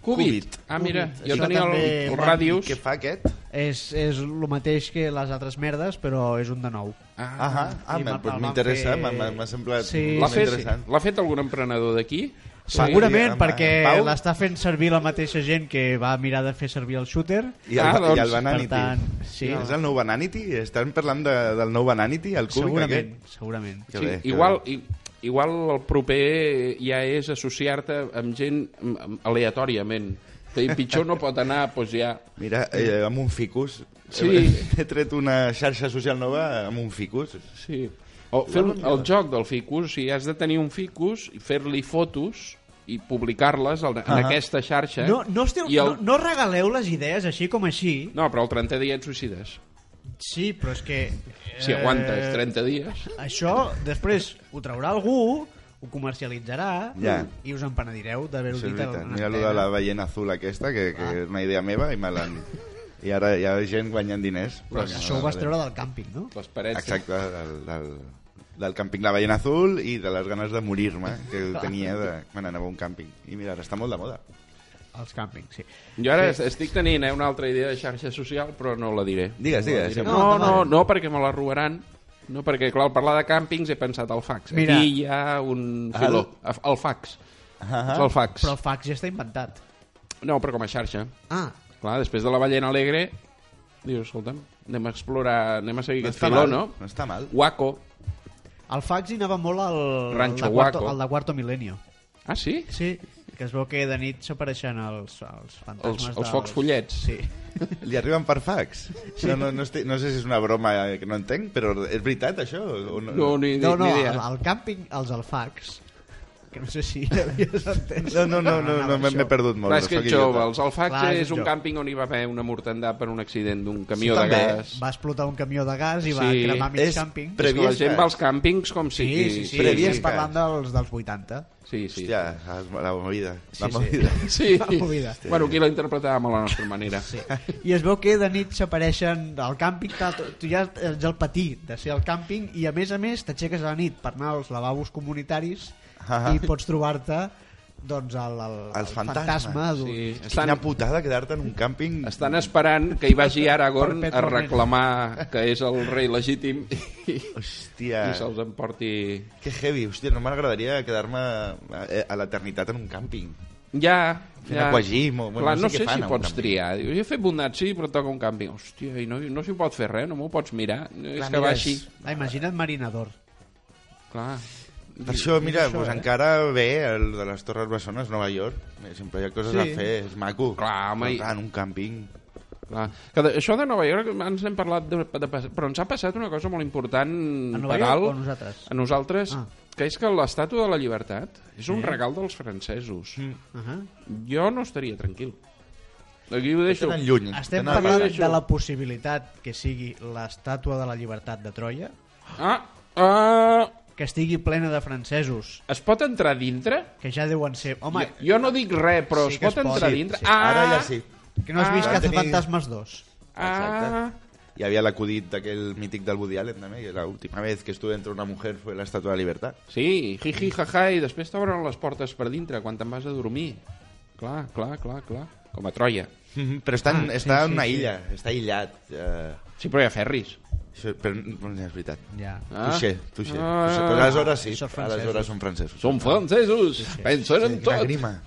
C: Qubit. Ah, mira,
B: Qubit.
C: jo
B: Això
C: tenia el,
B: també
C: el
B: va-
C: Ràdius.
D: Què fa aquest?
B: És, és el mateix que les altres merdes, però és un de nou.
C: Ah,
D: Ah, ah
B: I
D: me-
B: me'l-
D: pues
B: el van
D: m'interessa,
B: fer-
D: m'ha m'ha- m'ha semblat
B: Sí,
D: sí,
B: sí,
C: L'ha
D: molt
B: sí.
C: fet,
D: interessant.
C: l'ha fet algun emprenedor d'aquí?
B: Segurament,
D: home,
B: perquè
D: Pau?
B: l'està fent servir la mateixa gent que va mirar de fer servir el shooter.
D: I el,
C: Ah,
D: ah,
C: doncs,
D: i el
B: per
D: Bananity.
B: tant, sí.
D: És el nou Bananity? Estan parlant de, del nou Bananity? El cúbic
B: Segurament, segurament.
D: Que
C: sí,
D: bé, que
C: igual, i, igual el proper ja és associar-te amb gent mm, amb- aleatòriament. Que pitjor no pot anar, doncs ja...
D: aquest? Mira, eh, amb un ficus.
C: Sí.
D: He <laughs> tret una xarxa social nova amb un ficus.
C: Sí. O fer el, el joc del ficus, si has de tenir un ficus i fer-li fotos i publicar-les en, en aquesta xarxa...
B: Ah. No, no, esteu,
C: i el,
B: no, no regaleu les idees així com així.
C: no, però el 30 dia et suïcides.
B: Sí, però és que... Eh.
C: Si aguantes 30 dies...
B: Això després ho traurà algú, ho comercialitzarà
D: Ja.
B: i us empenedireu d'haver-ho
D: Això és
B: dit. Ah.
D: veritat.
B: en
D: Mira allò
B: antena.
D: de la ballena azul aquesta, que, que és una idea meva, i me l'han... I ara hi ha gent guanyant diners.
B: Però
D: Perquè
B: això
D: no
B: ho vas treure del càmping, no?
C: Les parets...
D: Exacte, del, del, del càmping La Ballena Azul i de les ganes de morir-me que tenia de, quan anava a un càmping. I mira, ara està molt de moda.
B: Els càmpings, sí.
C: Jo ara sí. estic tenint eh, una altra idea de xarxa social, però no la diré.
D: Digues, digues.
C: No,
D: No,
C: no,
B: endavant.
C: no, perquè me la robaran. No, perquè, clar, al parlar de càmpings he pensat al fax.
B: Mira.
C: Aquí hi ha un filó. El, el fax. Ah el fax.
B: Però el fax ja està inventat.
C: No, però com a xarxa.
B: Ah,
C: Clar, després de la ballena alegre, dius, escolta'm, anem a explorar, anem a seguir
D: no
C: aquest
D: està
C: filó,
D: mal,
C: no?
D: no està mal.
C: Waco.
B: el fax hi anava molt al, al,
C: Rancho
B: de quarto,
C: Guaco.
B: al de quarto milenio.
C: Ah, sí?
B: Sí, que es veu que de nit s'apareixen els, els fantasmes
C: Els- els
B: dels...
C: focs follets.
B: Sí.
D: Li arriben per fax. No, no, no, estic, no sé si és una broma que no entenc, però és veritat, això? O no,
C: No, ni,
B: No, no,
C: ni
B: al,
C: idea.
B: al càmping, els al fax, que no sé si havies entès.
D: no, no, no, no, no,
B: anava
D: m'he- m'he
B: Ah, això.
D: perdut molt.
C: Clar, és que
D: sóc
C: ets
D: idiota.
C: jove. Els Alfax
B: Clar, és
C: és un
B: jove.
C: càmping on hi va haver una mortandà per un accident d'un camió de
D: també.
C: gas.
B: Va explotar un camió de gas i va
C: Sí.
B: cremar mig
D: És
B: càmping.
D: pre-
C: És que la
D: Previes
C: gent
D: gas.
C: va als càmpings com si...
B: eh? Sí, sí, sí.
D: previes
B: Previes
D: gas.
B: parlant dels, dels 80.
C: Sí, sí.
D: Hòstia, ah, la movida. La
B: Sí, sí.
D: movida.
B: <laughs>
C: Sí.
B: La movida.
C: Bueno, aquí la interpretàvem a la nostra manera.
B: Sí. I es veu que de nit s'apareixen al càmping, tal, tu- tu ja ets el patí de ser al càmping i a més a més t'aixeques a la nit per anar als lavabos comunitaris
D: Ah.
B: i pots trobar-te doncs el, el, el
D: Els
B: fantasma
D: fantasmes.
B: d'un...
C: Sí.
D: Quina
C: Estan,
D: putada quedar-te en un càmping.
C: estan esperant que hi vagi Aragorn a
B: Perpetuament.
C: reclamar que és el rei legítim i,
D: Hòstia.
C: i se'ls emporti...
D: Que heavy, hòstia, no m'agradaria quedar-me a, a l'eternitat en un càmping.
C: Ja,
D: Fent
C: ja.
D: aquagym o- bueno,
C: Clar, no
D: no sé
C: sé
D: què fan
C: si
D: a un
C: pots
D: càmping.
C: triar. Diu, jo he fet bondat, sí, però toca un canvi. Hòstia, i no, no s'hi pot fer res, no m'ho pots mirar. No, és que va
D: mira,
C: així.
B: Ah, imagina't marinador.
C: Clar.
D: Per això, mira,
B: això,
D: doncs
B: eh?
D: encara bé el de les Torres Bessones, Nova York. Mira, Sempre hi ha coses
B: Sí.
D: sí. a fer, és maco.
C: Clar, home,
D: Però,
C: i-
D: clar, en un càmping.
C: clar. Que de, això de Nova York ens hem parlat de, de, pas- però ens ha passat una cosa molt important
B: A Nova
C: per
B: York
C: alt,
B: o a nosaltres?
C: a nosaltres
B: Ah.
C: que és que l'estàtua de la
D: Mm.
C: llibertat és un regal dels francesos.
B: Uh -huh.
C: Jo no estaria tranquil. Aquí ho deixo.
D: Tenen lluny.
B: Estem
D: tenen
B: parlant
D: passat.
B: de la possibilitat que sigui l'estàtua de la llibertat de Troia,
C: Ah, ah,
B: que estigui plena de francesos,
C: es pot entrar dintre?
B: que ja deuen ser... Home,
C: jo, jo no dic res, però
B: Sí
C: es
B: que
C: pot
B: es pot.
C: entrar
B: Sí,
C: dintre?
B: sí.
C: Ah,
D: Ara ja sí.
B: que no has vist
C: Ah,
B: Cazafantasmes 2.
C: Ah,
D: Exacte. Hi havia l'acudit d'aquell mític del Woody Allen, també, que la última vez que estuve entre una mujer fue la Estatua de la Libertad.
C: sí, jiji, jaja, i després t'obren les portes per dintre quan te'n vas a dormir. Clar, clar, clar, clar. Com a Troia.
B: Mhm.
D: Però està,
B: Ah,
D: en, està en una illa, està aïllat. Eh,
C: Sí, però hi ha ferris.
D: això, però, bueno, ja és veritat.
B: Ja.
C: Ah.
D: Touché, touché.
C: Ah.
D: touché. Però aleshores sí,
B: Són francesos.
D: aleshores són francesos.
C: Som francesos, pensen en
D: Quina
C: tot.
D: grima.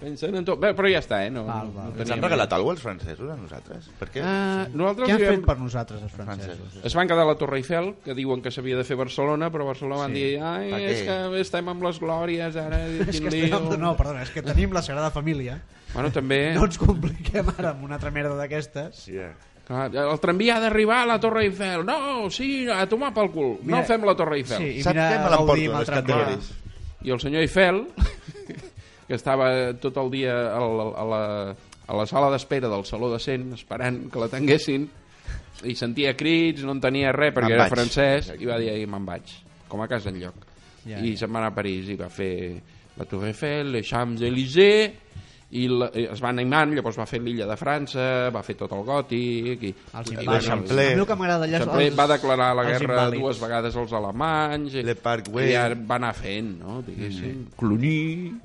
C: Pensen en tot. Bé, però ja està, eh? No,
B: Val, val.
C: no
D: Ens han
C: teníem-
D: regalat alguna cosa els francesos a nosaltres? Per què?
C: Ah, nosaltres
B: Què han
C: li vam-
B: fet per nosaltres, els francesos?
D: Francesos.
C: Es van quedar a la Torre Eiffel, que diuen que s'havia de fer Barcelona, però a Barcelona van
B: Sí.
C: dir Ai,
D: Per què?
C: és que estem amb les glòries, ara...
B: <laughs> És
C: quin
B: que estem...
C: lío."
B: amb- No, perdona, és que tenim la Sagrada Família.
C: Bueno, també...
B: No ens compliquem ara amb una altra merda d'aquestes.
D: Sí, eh.
C: Clar, el tramvia ha d'arribar a la Torre Eiffel. No, sí, a tomar pel cul.
B: Mira,
C: no fem la Torre Eiffel.
B: Sí, i
D: Saps
B: mira,
D: què me
B: Gaudí amb
D: l'emporto,
B: el
D: les
B: tramvia.
D: categories?
C: I el senyor Eiffel, <laughs> que estava tot el dia a la, a la, a la sala d'espera del Saló de Cent, esperant que la tanguessin, i sentia crits, no entenia res, perquè
D: Me'n
C: era
D: vaig.
C: francès, i va dir, "Ai, me'n vaig, com a casa enlloc.
B: Ja,
C: Ja, I se'n va anar a París, i va fer la Tour Eiffel, les Champs-Élysées, i, la, i es va animant, llavors va fer l'illa de França, va fer tot el gòtic... I,
B: Els
C: i
B: invàlids.
D: l'Eixample.
B: A mi el que m'agrada allà... és
C: Champlain
B: els-
C: va declarar la
B: els
C: guerra
B: invàlids.
C: dues vegades als alemanys i,
D: Le Parc
C: i
D: Güell. Mm-hmm.
C: ja va anar fent, no? diguéssim mm. Cluny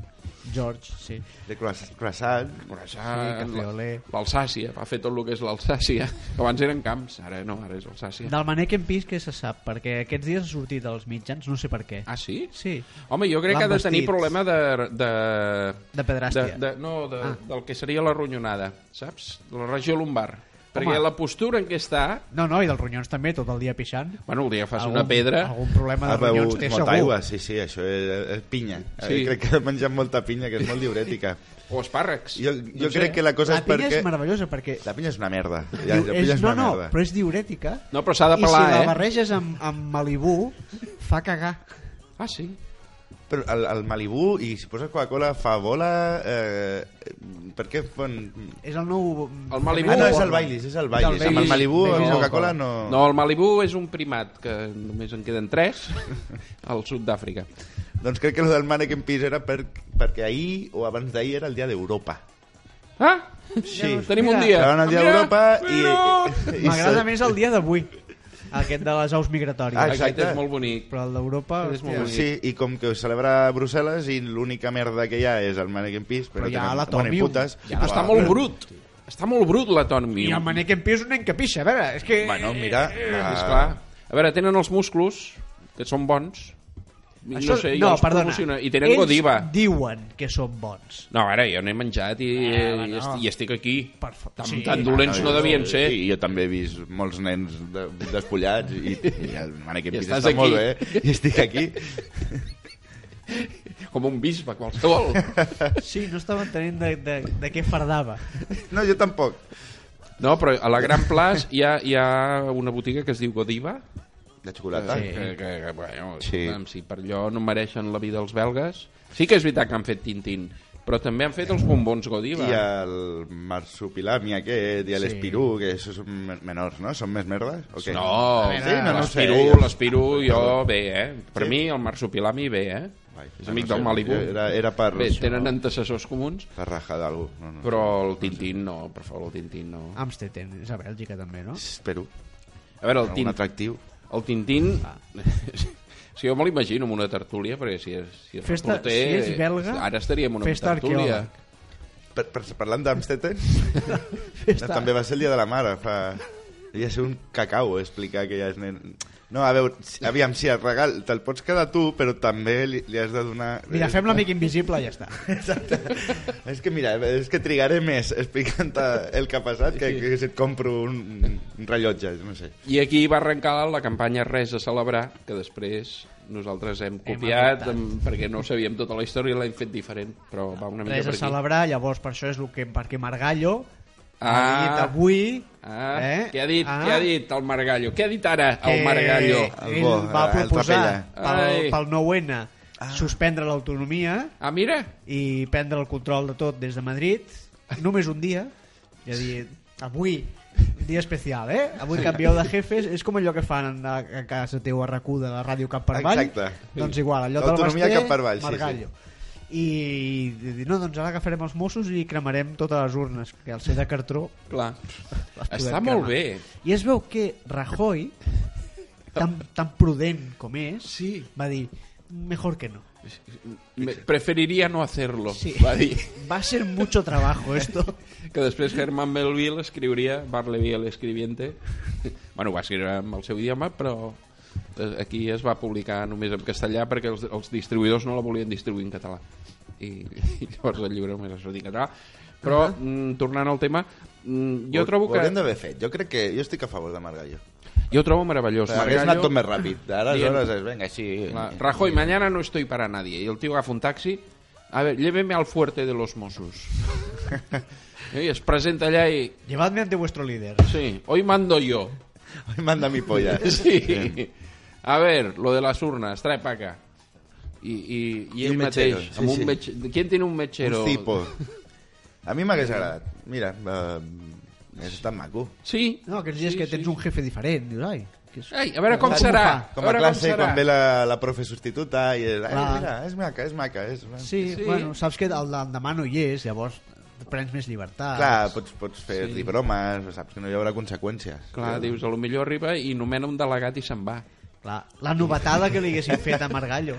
B: George, sí.
D: De croissant- croissant.
C: Curaçà,
B: Sí, Cabriolet.
C: l'Alsàcia, va fer tot el que és l'Alsàcia <laughs> que abans eren camps, ara no, ara és Alsàcia
B: Del Mannequin Pis que se sap, perquè aquests dies ha sortit als mitjans, no sé per què.
C: Ah, sí?
B: Sí,
C: Home, jo crec que ha de tenir
B: L'han vestit.
C: problema de... de...
B: de
C: De,
B: Pedrastia.
C: de, no, de, ah.
B: Ah.
C: del que seria la ronyonada, saps? La regió lumbar. Perquè
B: Home.
C: la postura en què està...
B: No, no, i dels ronyons també, tot el dia pixant.
C: Bueno, el dia que fas una pedra...
B: Algun problema de
D: Ha
B: ronyons
D: begut
B: té
D: molta
B: segur.
D: aigua, sí, sí, això és, és pinya.
C: Sí.
D: Sí. Crec que ha menjat molta pinya, que és molt diurètica.
C: O espàrrecs.
D: Jo, jo no crec que la cosa
B: Doncs, eh, La
D: és
B: pinya
D: perquè...
B: és meravellosa perquè...
D: La pinya és una merda. Ja,
B: diu,
D: la
B: és,
D: pinya
B: no,
D: és una
B: no,
D: merda.
B: però és diurètica.
C: No, però s'ha de
B: I
C: pelar,
B: si
C: eh?
B: la barreges amb, amb Malibú, fa cagar.
C: Ah, sí?
D: Però el, el Malibu i si poses Coca-Cola fa bola... Eh, per què fan...
B: És el nou...
C: El Malibú-
D: Ah, no, és el
C: Baileys.
D: Baileys, és el Baileys.
B: Del
D: Amb el
C: Baileys.
D: Malibu o
B: Baileys
C: no.
D: Coca-Cola no...
C: No, el Malibu és un primat, que només en queden tres <laughs> al sud d'Àfrica.
D: Doncs crec que el del Mannequin Pis era per, perquè ahir o abans d'ahir era el dia d'Europa.
C: Ah!
D: Sí.
C: Tenim un dia.
D: Era el dia
C: Mira,
D: d'Europa i...
C: mira.
D: i- i
B: M'agrada
D: se-
B: més el dia d'avui, aquest de les aus
D: Ah,
B: migratòries.
D: exacte.
C: Aquest és molt bonic.
B: Però el d'Europa...
C: Aquest és molt
B: hòstia,
C: bonic.
D: Sí, i com que ho celebra a Brussel·les i l'única merda que hi ha és el Mannequin Pis, però,
B: Però hi ha
D: tenen-
B: l'Atomium.
D: bueno, i putes,
C: Ja, està molt brut. Està molt brut l'atomi.
B: I el Mannequin Pis és un nen que pixa, a veure, és que... eh,
D: Bueno, mira, la...
C: Eh, És clar. A veure, tenen els musclos, que són bons. no sé, jo
B: no,
C: els
B: perdona.
C: promociono. I tenen
B: Ells
C: godiva.
B: diuen que són bons.
C: No, ara, jo n'he menjat i,
B: Eh, va,
C: i,
B: no.
C: estic, i estic aquí.
B: Per fa-
C: Tan,
B: sí.
C: tan
D: Ah,
C: dolents no, devien ser.
D: Sí, jo també he vist molts nens de, despullats i, i el Mannequin
C: I
D: Pis
C: estàs
D: està molt
C: aquí.
D: bé i estic aquí.
C: Com un bisbe
D: <laughs>
C: qualsevol.
B: Sí, no estava entenent de, de, de què fardava.
D: No, jo tampoc.
C: No, però a la Gran Plaça hi ha, hi ha una botiga que es diu Godiva,
D: De xocolata.
C: que, que, que bueno,
D: Sí.
C: escolta'm, si per allò no mereixen la vida els belgues... Sí que és veritat que han fet Tintín, però també han fet els bombons Godiva.
D: I eh, el marsupilami aquest i l'espirú, que això són me- menors, no? Són més merdes? O què?
C: No,
D: sí, no, no ho sé.
C: l'Espirú,
D: jo-
C: l'Espirú, jo bé, eh? Per
D: Sí.
C: mi el marsupilami bé, eh?
D: Vai,
C: és
D: no
C: amic
D: sé,
C: del Malibu.
D: Era, era per,
C: Bé, tenen antecessors comuns,
D: per rajar d'algú. No, no.
C: però el Tintín no, per favor, el Tintín no.
B: Ah. Amstetten, és a Bèlgica també, no?
D: Espero.
C: A veure, el,
D: Algun
C: tin,
D: atractiu.
C: el Tintín... <laughs> Si jo me l'imagino amb una tertúlia, perquè si és, si és
B: Festa-
C: reporter,
B: si és belga,
C: ara estaria en una
B: festa
C: tertúlia.
B: arqueòleg.
D: Per, per, parlant d'Amstetten,
B: Festa-
D: també va ser el dia de la mare. Fa... Devia ser un cacau explicar que ja és nen... No, a veure, si- aviam, si el regal te'l pots quedar tu, però també li, li has de donar...
B: Mira, fem l'amic invisible i ja està.
D: Exacte. és que mira, és que trigaré més explicant el que ha passat que, que si et compro un, un rellotge, no sé.
C: I aquí va arrencar la campanya Res a celebrar, que després nosaltres hem copiat
B: adaptat.
C: hem perquè no sabíem tota la història i l'hem fet diferent, però va una mica
B: Res
C: per
B: a
C: aquí.
B: celebrar, llavors per això és el que, perquè Margallo ah, ha
C: Ah.
B: dit avui
C: Ah,
B: eh?
C: què ha dit?
B: Ah.
C: Què ha dit el Margallo? Què ha dit ara
B: que
C: el Margallo?
D: El
B: ell
D: bo,
B: va
D: el
B: proposar
C: Trapella.
B: pel,
C: Ai.
B: pel 9-N suspendre l'autonomia
C: Ah, mira,
B: i prendre el control de tot des de Madrid només un dia i a dir, avui dia especial, eh? Avui canvieu de jefes és com allò que fan a, a casa teu a RAC1 de la ràdio cap per avall
D: Exacte.
B: doncs igual, allò del
D: L'autonomia
B: Basté
D: cap per avall, sí,
B: Margallo I, i dir, no, doncs ara agafarem els Mossos i cremarem totes les urnes que al ser de cartró
C: Clar.
B: les podem
C: Està molt
B: cremar.
C: bé.
B: i es veu que Rajoy tan, tan prudent com és
C: Sí.
B: va dir, mejor que no
C: Me- preferiría no hacerlo,
B: Sí.
C: va dir.
B: va a ser mucho trabajo
D: <laughs>
B: esto
C: Que després Herman Melville escriuria, Barleby el escribiente, bueno, ho va escriure en el seu idioma, però eh, aquí es va publicar només en castellà perquè els, els distribuïdors no la volien distribuir en català. I, i llavors el llibre només es sortia en català. Però, uh -huh. tornant al tema, mm, jo
D: Ho-
C: trobo
D: Ho hauríem
C: que...
D: d'haver fet. Jo crec que... Jo estic a favor de Margallo.
C: Jo ho trobo meravellós.
D: Però Hagués anat tot més ràpid. Ara,
C: Dient-
D: aleshores, és, venga, sí...
C: La- Rajoy, mañana no estoy para nadie. Y el tío agafa un taxi. A ver, lléveme al fuerte de los
D: <laughs>
C: Mossos. I es presenta allà i...
B: llevadme ante vuestro líder
C: Sí, hoy mando yo.
D: Hoy manda
C: <laughs>
D: mi polla.
C: Sí. A ver, lo de las urnas, trae para acá. I, i, i
D: I
C: ell
D: un
C: mateix,
D: mechero, sí,
C: amb un
D: sí.
C: metge... Qui tiene un mechero?
D: Un tipo. A mi m'hagués agradat. Mira, eh, és tan maco.
C: Sí.
B: No, aquells dies
C: sí,
B: que
C: sí.
B: tens un jefe diferent, dius, ai... Que és...
C: Ai, a veure com
B: Com
C: serà.
B: ho fa?
C: a
D: Com a
C: veure
D: classe,
C: com serà. Ah.
D: quan ve la, la profe substituta i... És, ai,
B: Clar.
D: mira, és maca, és maca. És...
B: Sí,
C: Sí.
B: sí, bueno, saps que el d'endemà no hi és, llavors prens més llibertat.
D: Clar, pots, pots fer-li bromes, saps que no hi haurà conseqüències.
C: Clar, dius, a lo millor arriba i nomena un delegat i se'n va.
B: Clar, la novetada que li haguessin fet a Margallo.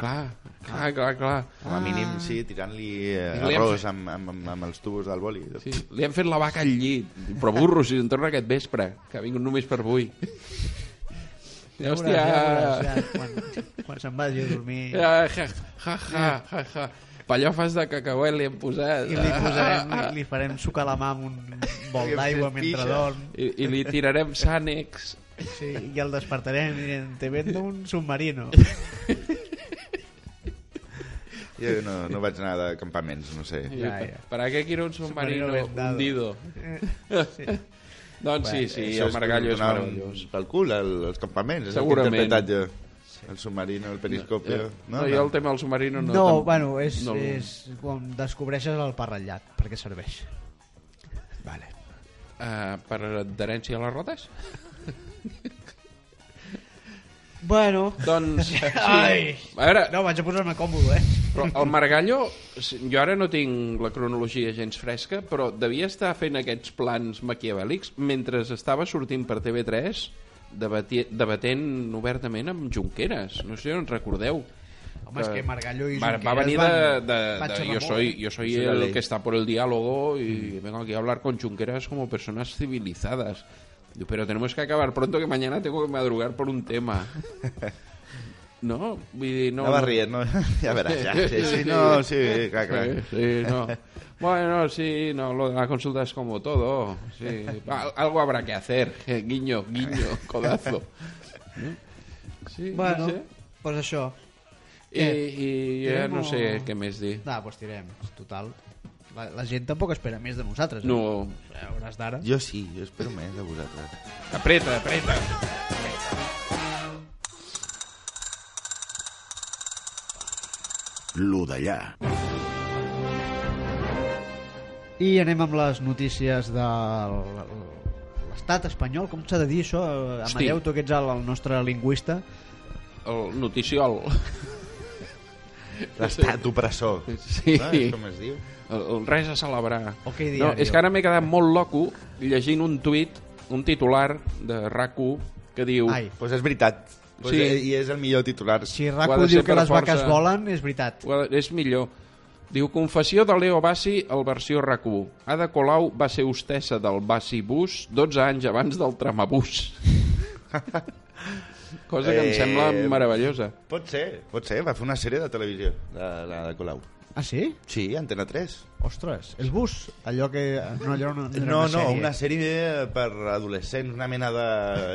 C: Clar, clar, clar, clar.
D: Com a mínim, sí, tirant-li eh,
C: Ah. I li hem
D: arròs amb, amb, amb, amb els tubos del boli.
C: Sí, li han fet la vaca al llit. Però burro, si se'n torna aquest vespre, que ha vingut només per avui. I,
B: Ja
C: hòstia...
B: veuràs, ja veuràs, ja, quan, quan se'n vagi a dormir...
C: Ja, ja, ja, ja, ja, ja. Pallofes de cacauet li han posat.
B: I li, posarem, li, li farem sucar la mà amb un bol
D: Li hem
B: d'aigua
D: fet
B: mentre
D: pixa.
B: dorm
C: I, I li tirarem sànex.
B: sí, i el despertarem i direm, te vendo un submarino.
D: Jo no, no vaig anar de campaments, no sé.
B: Ja, ja.
C: Per a què quiero un submarino
B: Submarino vendado.
C: hundido?
B: Eh, Sí.
C: Doncs sí, sí,
D: Això
C: el Margallo és
D: donar
C: meravellós.
D: Pel cul, el, els campaments. és el que he
C: Segurament.
D: interpretat jo. El submarino, el periscopio...
C: Eh, No, jo el tema del submarino no...
B: No,
C: tam-
B: bueno, és,
C: no el-
B: és quan descobreixes el parrellat, perquè serveix. Vale.
C: Eh, per adherència a les rodes?
B: Bueno, <laughs>
C: Doncs... Sí.
B: Ai.
C: A veure,
B: no, vaig a posar-me còmode, eh?
C: Però el Margallo, si- jo ara no tinc la cronologia gens fresca, però devia estar fent aquests plans maquiavèlics mentre estava sortint per TV3 debati- debatent obertament amb Junqueras. No sé si en recordeu.
B: Home, és que Margallo i
C: va, va
B: Junqueras
C: venir de,
B: van-
C: de,
B: van
C: de,
B: xerrar
C: yo
B: molt,
C: soy,
B: eh?
C: yo soy
D: Sí, la
C: el
D: ley. Mm.
C: que está por el diálogo y vengo aquí a hablar con Junqueras como personas civilizadas. Digo, Pero tenemos que acabar pronto que mañana tengo que madrugar por un
D: <laughs>
C: tema. No, vull dir, no,
D: No, no va rient, no? <laughs> Ja veràs, ja. Sí, sí, no, sí, clar, clar.
C: Sí, sí, no. Bueno, sí, no, lo de la consulta es como todo.
D: <laughs>
C: sí. Al- algo habrá que hacer. eh, Guiño, guiño, codazo. Sí,
B: Bueno,
C: no sé.
B: pues això.
C: I, i ja no
B: Tirem-ho-
C: sé què més dir.
B: Va, doncs tirem. Total, la, la gent tampoc espera més de nosaltres. Eh?
C: No,
B: A hores d'ara.
D: Jo sí, jo espero més de vosaltres.
C: apreta, apreta.
A: Lo d'allà.
B: I anem amb les notícies de l'estat espanyol. Com s'ha de dir això? Eh,
C: Hosti.
B: Amadeu, tu que ets el, el nostre lingüista.
C: El noticiol. <laughs>
D: L'estat opressor.
C: Sí.
D: No? És com es diu?
C: El, el res a celebrar.
B: O què
C: no,
B: diario.
C: és que ara m'he quedat molt loco llegint un tuit, un titular de rac que diu...
B: Ai,
D: Doncs pues és veritat. Pues
C: Sí.
D: sí. I és el millor titular.
B: si
C: Ho ha
B: Raco
C: de
B: diu
C: ser
B: que
C: per
B: les
C: força.
B: vaques volen, és veritat.
C: Well, és millor. Diu, confessió de Leo Bassi al versió rac Ada Colau va ser hostessa del Bassi Bus 12 anys abans del tramabús. Cosa que em
D: Eh,
C: sembla meravellosa.
D: Pot ser, pot ser. Va fer una sèrie de televisió, la, la de Colau.
B: Ah, sí?
D: Sí, Antena 3.
B: Ostres, el bus, allò que... No, allò no, no, era
D: No,
B: una
D: no,
B: sèrie.
D: una sèrie per adolescents, una mena de...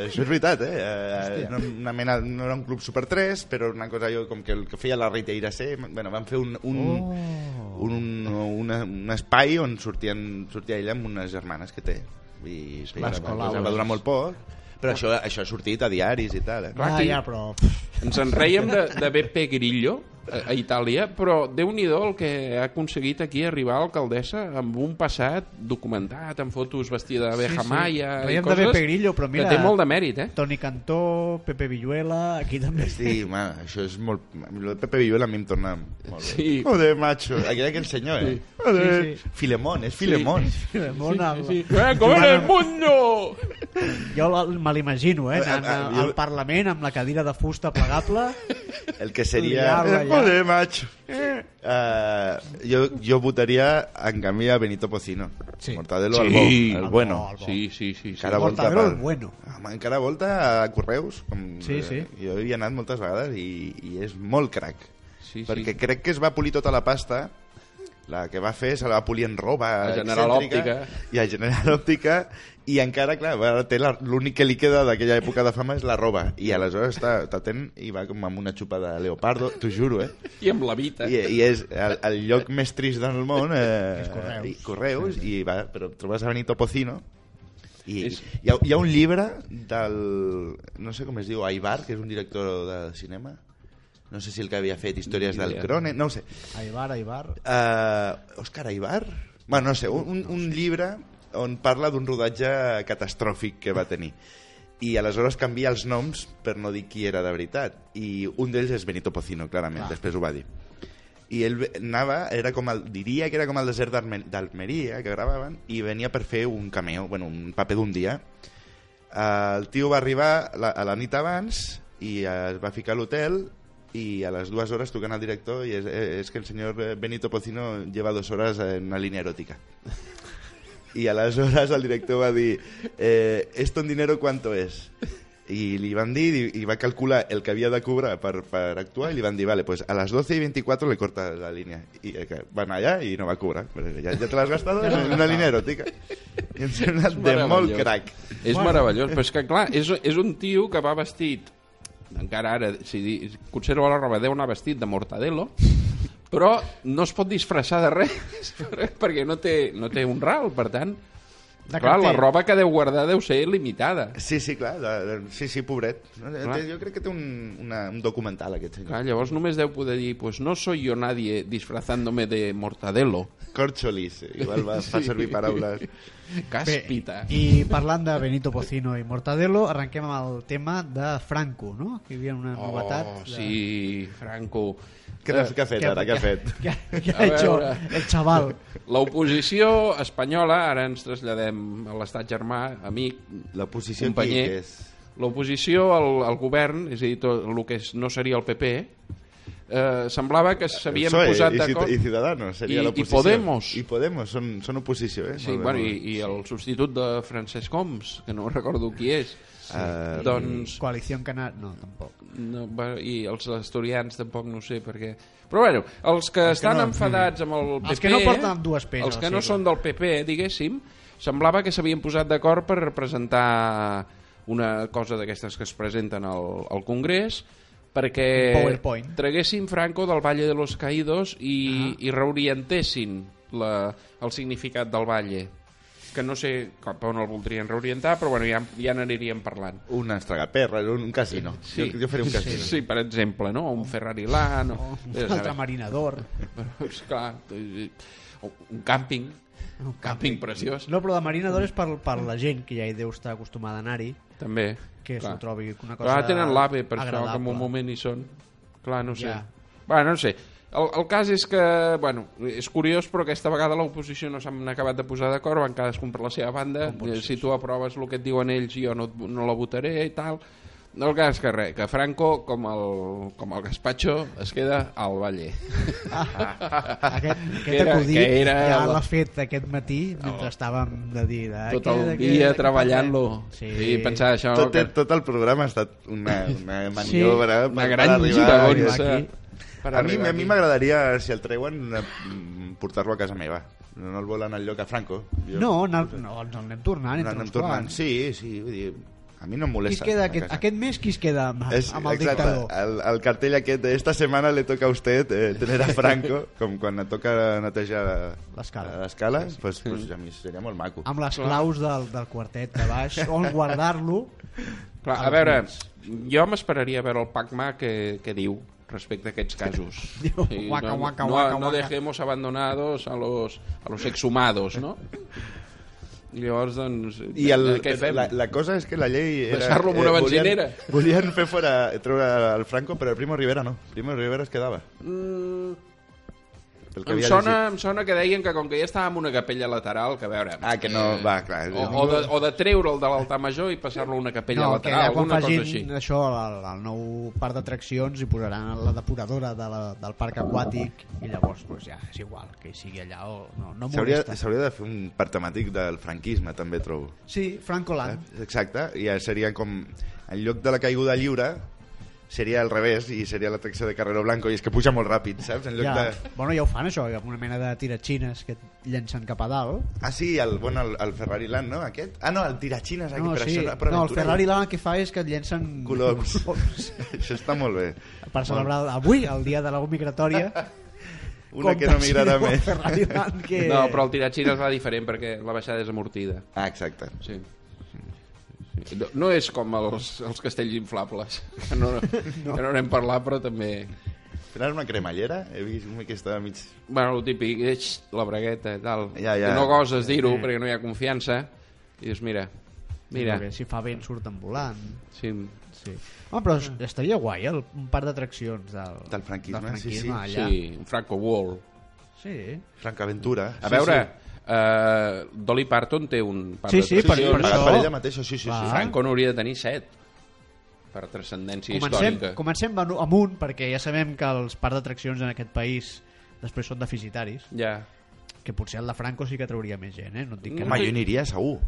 D: Això és veritat, eh? eh? No, una mena, no era un club Super 3, però una cosa jo, com que el que feia la Rita Iracé, bueno, van fer un, un, oh. un, un, una, un espai on sortien, sortia ella amb unes germanes que té. I, sí,
B: Les
D: va,
B: Colaues.
D: va durar molt poc, però això, això ha sortit a diaris i tal. Eh?
B: Ah,
C: Raqui.
B: ja, però... pff,
C: Ens en rèiem de, de BP Grillo, a, a Itàlia, però déu nhi el que ha aconseguit aquí arribar a l'alcaldessa amb un passat documentat, amb fotos vestida de
E: sí.
C: abeja maia i
E: Veiem de
C: coses
E: Beppe Grillo, però mira-
C: que té molt de mèrit, eh?
E: Toni Cantó, Pepe Villuela, aquí <laughs> també.
D: Sí, ma, això és molt... Lo de Pepe Villuela a mi em torna molt bé.
C: Sí.
D: Joder, macho. Aquell, aquell senyor, eh? Joder.
E: Sí,
D: Filemón, és Filemón.
E: Molt sí, sí.
C: Eh, com era el mundo!
E: Jo la- me l'imagino, eh? Anant
D: Ah, ah,
E: al,
D: jo-
E: al Parlament amb la cadira de fusta plegable.
D: El que seria...
E: Liarla
D: Eh,
E: ja.
D: Joder, macho. Eh, jo, jo votaria en canvi a Benito Pocino.
E: Sí.
D: Mortadelo
C: Sí.
D: al bo, al
C: Al
D: bueno.
E: bo.
C: Sí, sí, sí. sí.
D: Cara volta
E: Mortadelo
D: per...
E: al bueno.
D: Home, encara volta a Correus. Com... eh,
E: Sí, sí.
D: Jo hi he anat moltes vegades i, i és molt crac.
C: Sí, sí.
D: perquè crec que es va polir tota la pasta la que va fer se la va polir en roba
C: A General
D: excèntrica,
C: Òptica.
D: i a General Òptica i encara, clar, ara té la- l'únic que li queda d'aquella època de fama és la roba i aleshores està, està ten i va com amb una xupa de leopardo, t'ho juro, eh?
C: I amb la vita.
D: I, i és el, el lloc més trist del
E: <laughs>
D: món eh,
E: És Correus.
D: i, Correus i va, però trobes a Benito Pocino i
C: És-
D: hi ha, hi ha un llibre del no sé com es diu, Aibar, que és un director de cinema no sé si el que havia fet històries
C: Ni idea.
D: del Crone, no ho sé
E: Aibar, Aibar.
D: uh, Òscar Aibar? Bueno, no sé, un, un, un llibre on parla d'un rodatge catastròfic que va tenir i aleshores canvia els noms per no dir qui era de veritat i un d'ells és Benito Pocino, clarament,
E: Clar.
D: després ho va dir i ell ve- anava, era com el, diria que era com el desert d'Alme- d'Almeria que gravaven i venia per fer un cameo, bueno, un paper d'un dia Eh, el tio va arribar la, a la nit abans i eh, es va ficar a l'hotel i a les dues hores truquen al director i és, eh, és que el senyor eh, Benito Pocino lleva dues hores en una línia eròtica i aleshores el director va dir eh, esto en dinero cuánto es i li van dir i- i va calcular el que havia de cobrar per, per actuar i li van dir, vale, pues a las 12 y 24 le corta la línea i eh, que van allà i no va cobrar Pues ja, ja te l'has gastat en una línia eròtica i em sembla de molt
C: meravellós.
D: crac
C: És bueno. meravellós, però és que, clar, és, és un tio que va vestit, encara ara, si di- conserva la roba, deu anar vestit de mortadelo, però no es pot disfressar de res, <laughs> perquè no té, no té un ral, per tant...
E: De
C: clar, la
E: cartell.
C: roba que deu guardar deu ser limitada.
D: Sí, sí, clar, de, de, sí, sí, pobret. No, té-
C: Clar.
D: té- Jo crec que té un, una, un documental, aquest senyor.
C: Clar, llavors només deu poder dir, pues no soy yo nadie disfrazándome de mortadelo,
D: Corcholis, igual
C: <laughs>
D: va, fa servir paraules.
C: cáspita.
E: I parlant de Benito Pocino i Mortadelo, arrenquem amb el tema de Franco, no? Que hi havia una novetat.
C: Oh,
E: de- <laughs>
C: sí, Franco.
D: Què,
C: Eh,
D: has- què ha fet ara? Què ha fet?
E: Què ha, què
C: A
E: ha hecho
C: veure.
E: el xaval?
C: L'oposició espanyola, ara ens traslladem a l'estat germà, amic,
D: La posició aquí,
C: Companyer.
D: que és...
C: l'oposició al, al govern, és a dir, tot el que és- no seria el PP, eh, semblava que s'havien
D: PSOE
C: posat
D: eh, i, Ciut-
C: d'acord...
D: i Ciudadanos, seria
C: I- i
D: l'oposició.
C: Podemos.
D: I Podemos, són, són oposició, eh?
C: Sí, bueno, i, i el substitut de Francesc Homs, que no recordo qui és, sí.
D: Eh,
C: doncs...
E: Coalició Canar... No, tampoc.
C: No, va, I els asturians tampoc no ho sé perquè... Però bueno, els que els estan
E: no- Mm.
C: que no, enfadats amb el PP...
E: Els que no porten dues penes,
C: Els que
E: sí,
C: no
E: clar.
C: són del PP, diguéssim, semblava que s'havien posat d'acord per presentar una cosa d'aquestes que es presenten al, al Congrés perquè
E: Un PowerPoint.
C: traguessin Franco del Valle de los Caídos i, ah. i reorientessin la, el significat del Valle que no sé cap on el voldrien reorientar, però bueno, ja, ja n'aniríem parlant.
D: Un estragaperra, un, un casino.
C: Sí.
D: Jo, jo faré un casino.
C: Sí, per exemple, no? Un Ferrari Land... O...
E: Un
C: Vés a
E: altre
C: saber.
E: marinador.
C: Però, <laughs> esclar, eh, o un càmping, un càmping preciós,
E: No, però de marinador és per, per la gent que ja hi deu estar acostumada a anar-hi,
C: també.
E: que s'ho
C: clar.
E: trobi una cosa
C: Però ara tenen l'AVE, per
E: agradable.
C: això, que en un moment hi són. Clar, no ho sé.
E: Ja.
C: Bueno, no ho sé. El, el cas és que, bueno, és curiós, però aquesta vegada l'oposició no s'han acabat de posar d'acord, van cadascun per la seva banda, eh, si tu aproves el que et diuen ells, jo no, et- no la votaré i tal. El cas que res, que Franco, com el, com el Gaspacho, es queda al Valler.
E: Aquest,
C: Que
E: aquest
C: era-
E: acudit
C: que era
E: ja
C: la- Oh.
E: l'ha fet aquest matí mentre estàvem de dir... "Ah, De,
C: tot
E: què-
C: el
E: de què- de
C: dia
E: què
C: treballant-lo.
E: parlem?
C: Sí.
E: Sí.
C: I pensar això...
D: Tot,
C: que-
D: tot el programa ha estat una, una maniobra per,
C: una
D: per
C: gran
D: arribar...
C: giragonsa.
E: aquí.
C: Per
D: a mi
C: arribar
D: a mi
C: aquí.
D: m'agradaria, si el treuen, eh, mm, portar-lo a casa meva. No el volen al lloc a Franco. Jo-
E: No, anar, no, ens en anem tornant.
D: Anant
E: entre uns
D: tornant.
E: quants.
D: Sí, sí, vull dir, a mi
E: Qui
D: no em
E: es
D: molesta.
E: queda
D: a
E: aquest,
D: casa.
E: aquest mes qui es queda amb,
D: És,
E: amb el
D: exacte, eh,
E: dictador?
D: El, el cartell aquest, de esta setmana le toca a usted eh, tener a
E: <laughs>
D: Franco, com quan et toca netejar
E: L'escala.
D: l'escala, sí, pues, pues, a mi seria molt maco.
E: Amb les claus del, del quartet de baix, on guardar-lo.
C: Clar, a veure, jo m'esperaria a veure el Pac-Ma que, que diu. respecte a aquests casos. I
B: "Guaca,
C: no,
B: guaca,
C: no,
B: guaca,
C: no
B: guaca".
C: dejemos abandonados a los, a los exhumados, no? I llavors, doncs,
D: I el,
C: què fem?
D: la, la cosa és que la llei... era- eh,
C: Deixar-lo en una
D: volien-
C: benzinera.
D: Volien, fer fora, treure el Franco, però el Primo Rivera no. Primo Rivera es quedava.
C: Mm,
D: Pel que
C: em,
D: havia
C: sona,
D: llegit.
C: em sona que deien que com que ja estava en una capella lateral, que a veure...
D: Ah, que no, va, clar.
C: Eh, O, o, de, o de treure'l de l'altar major i passar-lo a una capella
B: No, que
C: lateral,
B: ja quan
C: alguna cosa així.
B: facin això al, al nou parc d'atraccions hi posaran la depuradora de la, del parc aquàtic i llavors pues, ja és igual que sigui allà o no, no
D: S'hauria
B: molesta.
D: s'hauria de fer un part temàtic del franquisme, també trobo.
B: Sí, Franco
D: Eh?
B: Land.
D: Exacte, i ja seria com... En lloc de la caiguda lliure, seria al revés i seria l'atracció de Carrero Blanco i és que puja molt ràpid, saps? En lloc
B: Ja,
D: de...
B: bueno, ja ho fan això, amb una mena de tiratxines que et llencen cap a dalt.
D: Ah, sí, el, bueno, el, el Ferrari Land, no? Aquest? Ah, no, el Tirachines.
B: No,
D: però
B: sí.
D: això era per
B: no el
D: aventura.
B: Ferrari Land el que fa és que et llencen
D: Coloms. <laughs>
B: coloms.
D: Això està molt bé.
B: per celebrar el- avui, el dia de la migratòria.
D: <laughs> Una que no mirarà
B: compensi el
D: més.
B: Ferrari Land que...
C: No, però el tiratxina es va diferent perquè la baixada és amortida.
D: <laughs> Ah, exacte.
C: Sí. Sí. No, no és com els, els castells inflables, que
D: <laughs>
C: no, no. que no n'hem parlat, però també...
D: Tenen una cremallera? He vist una que estava mig...
C: Bueno, el típic, eix, la bragueta i tal.
D: Ja, ja.
C: Que No goses dir-ho perquè no hi ha confiança. I dius, mira, mira,
B: Perquè si fa vent surten volant.
C: sí,
B: Sí. Home, però es- estaria guai el, un parc d'atraccions del,
D: Ah. Del franquisme,
B: del
D: sí, sí.
B: franquisme
C: sí,
B: allà.
C: un Franco Wall.
B: Sí, eh?
D: Franca Aventura.
C: A veure, eh, Dolly Parton té un parc
B: Sí, sí, per-
C: d'atraccions.
B: per
D: Pagat
B: això-
D: per ella mateixa, sí, sí,
B: Clar.
D: sí.
C: Franco n'hauria de tenir set per transcendència
B: Comencem,
C: històrica.
B: comencem amb- amunt, perquè ja sabem que els parcs d'atraccions en aquest país després són deficitaris,
C: Ja.
B: que potser el de Franco sí que trauria més gent, eh? No et dic que no.
D: Home, jo hi aniria segur.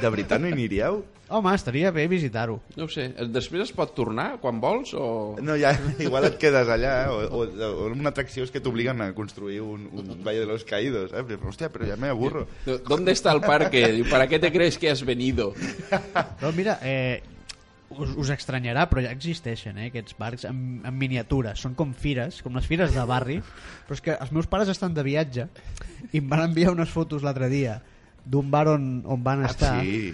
D: De veritat no hi aniríeu?
B: Home, estaria bé visitar-ho.
C: No ho sé, després es pot tornar quan vols o...
D: No, ja, <laughs> igual et quedes allà, eh? o, o, o una atracció és que t'obliguen a construir un, un Valle de los Caídos, eh? Però, hòstia, però ja me aburro.
C: No, ¿Dónde está el parque? Diu, ¿Para qué te crees que has venido?
B: Però mira, eh, us, us estranyarà, però ja existeixen eh, aquests parcs en, en miniatura. Són com fires, com les fires de barri. Però és que els meus pares estan de viatge i em van enviar unes fotos l'altre dia d'un bar on, on van estar.
D: Ah, sí.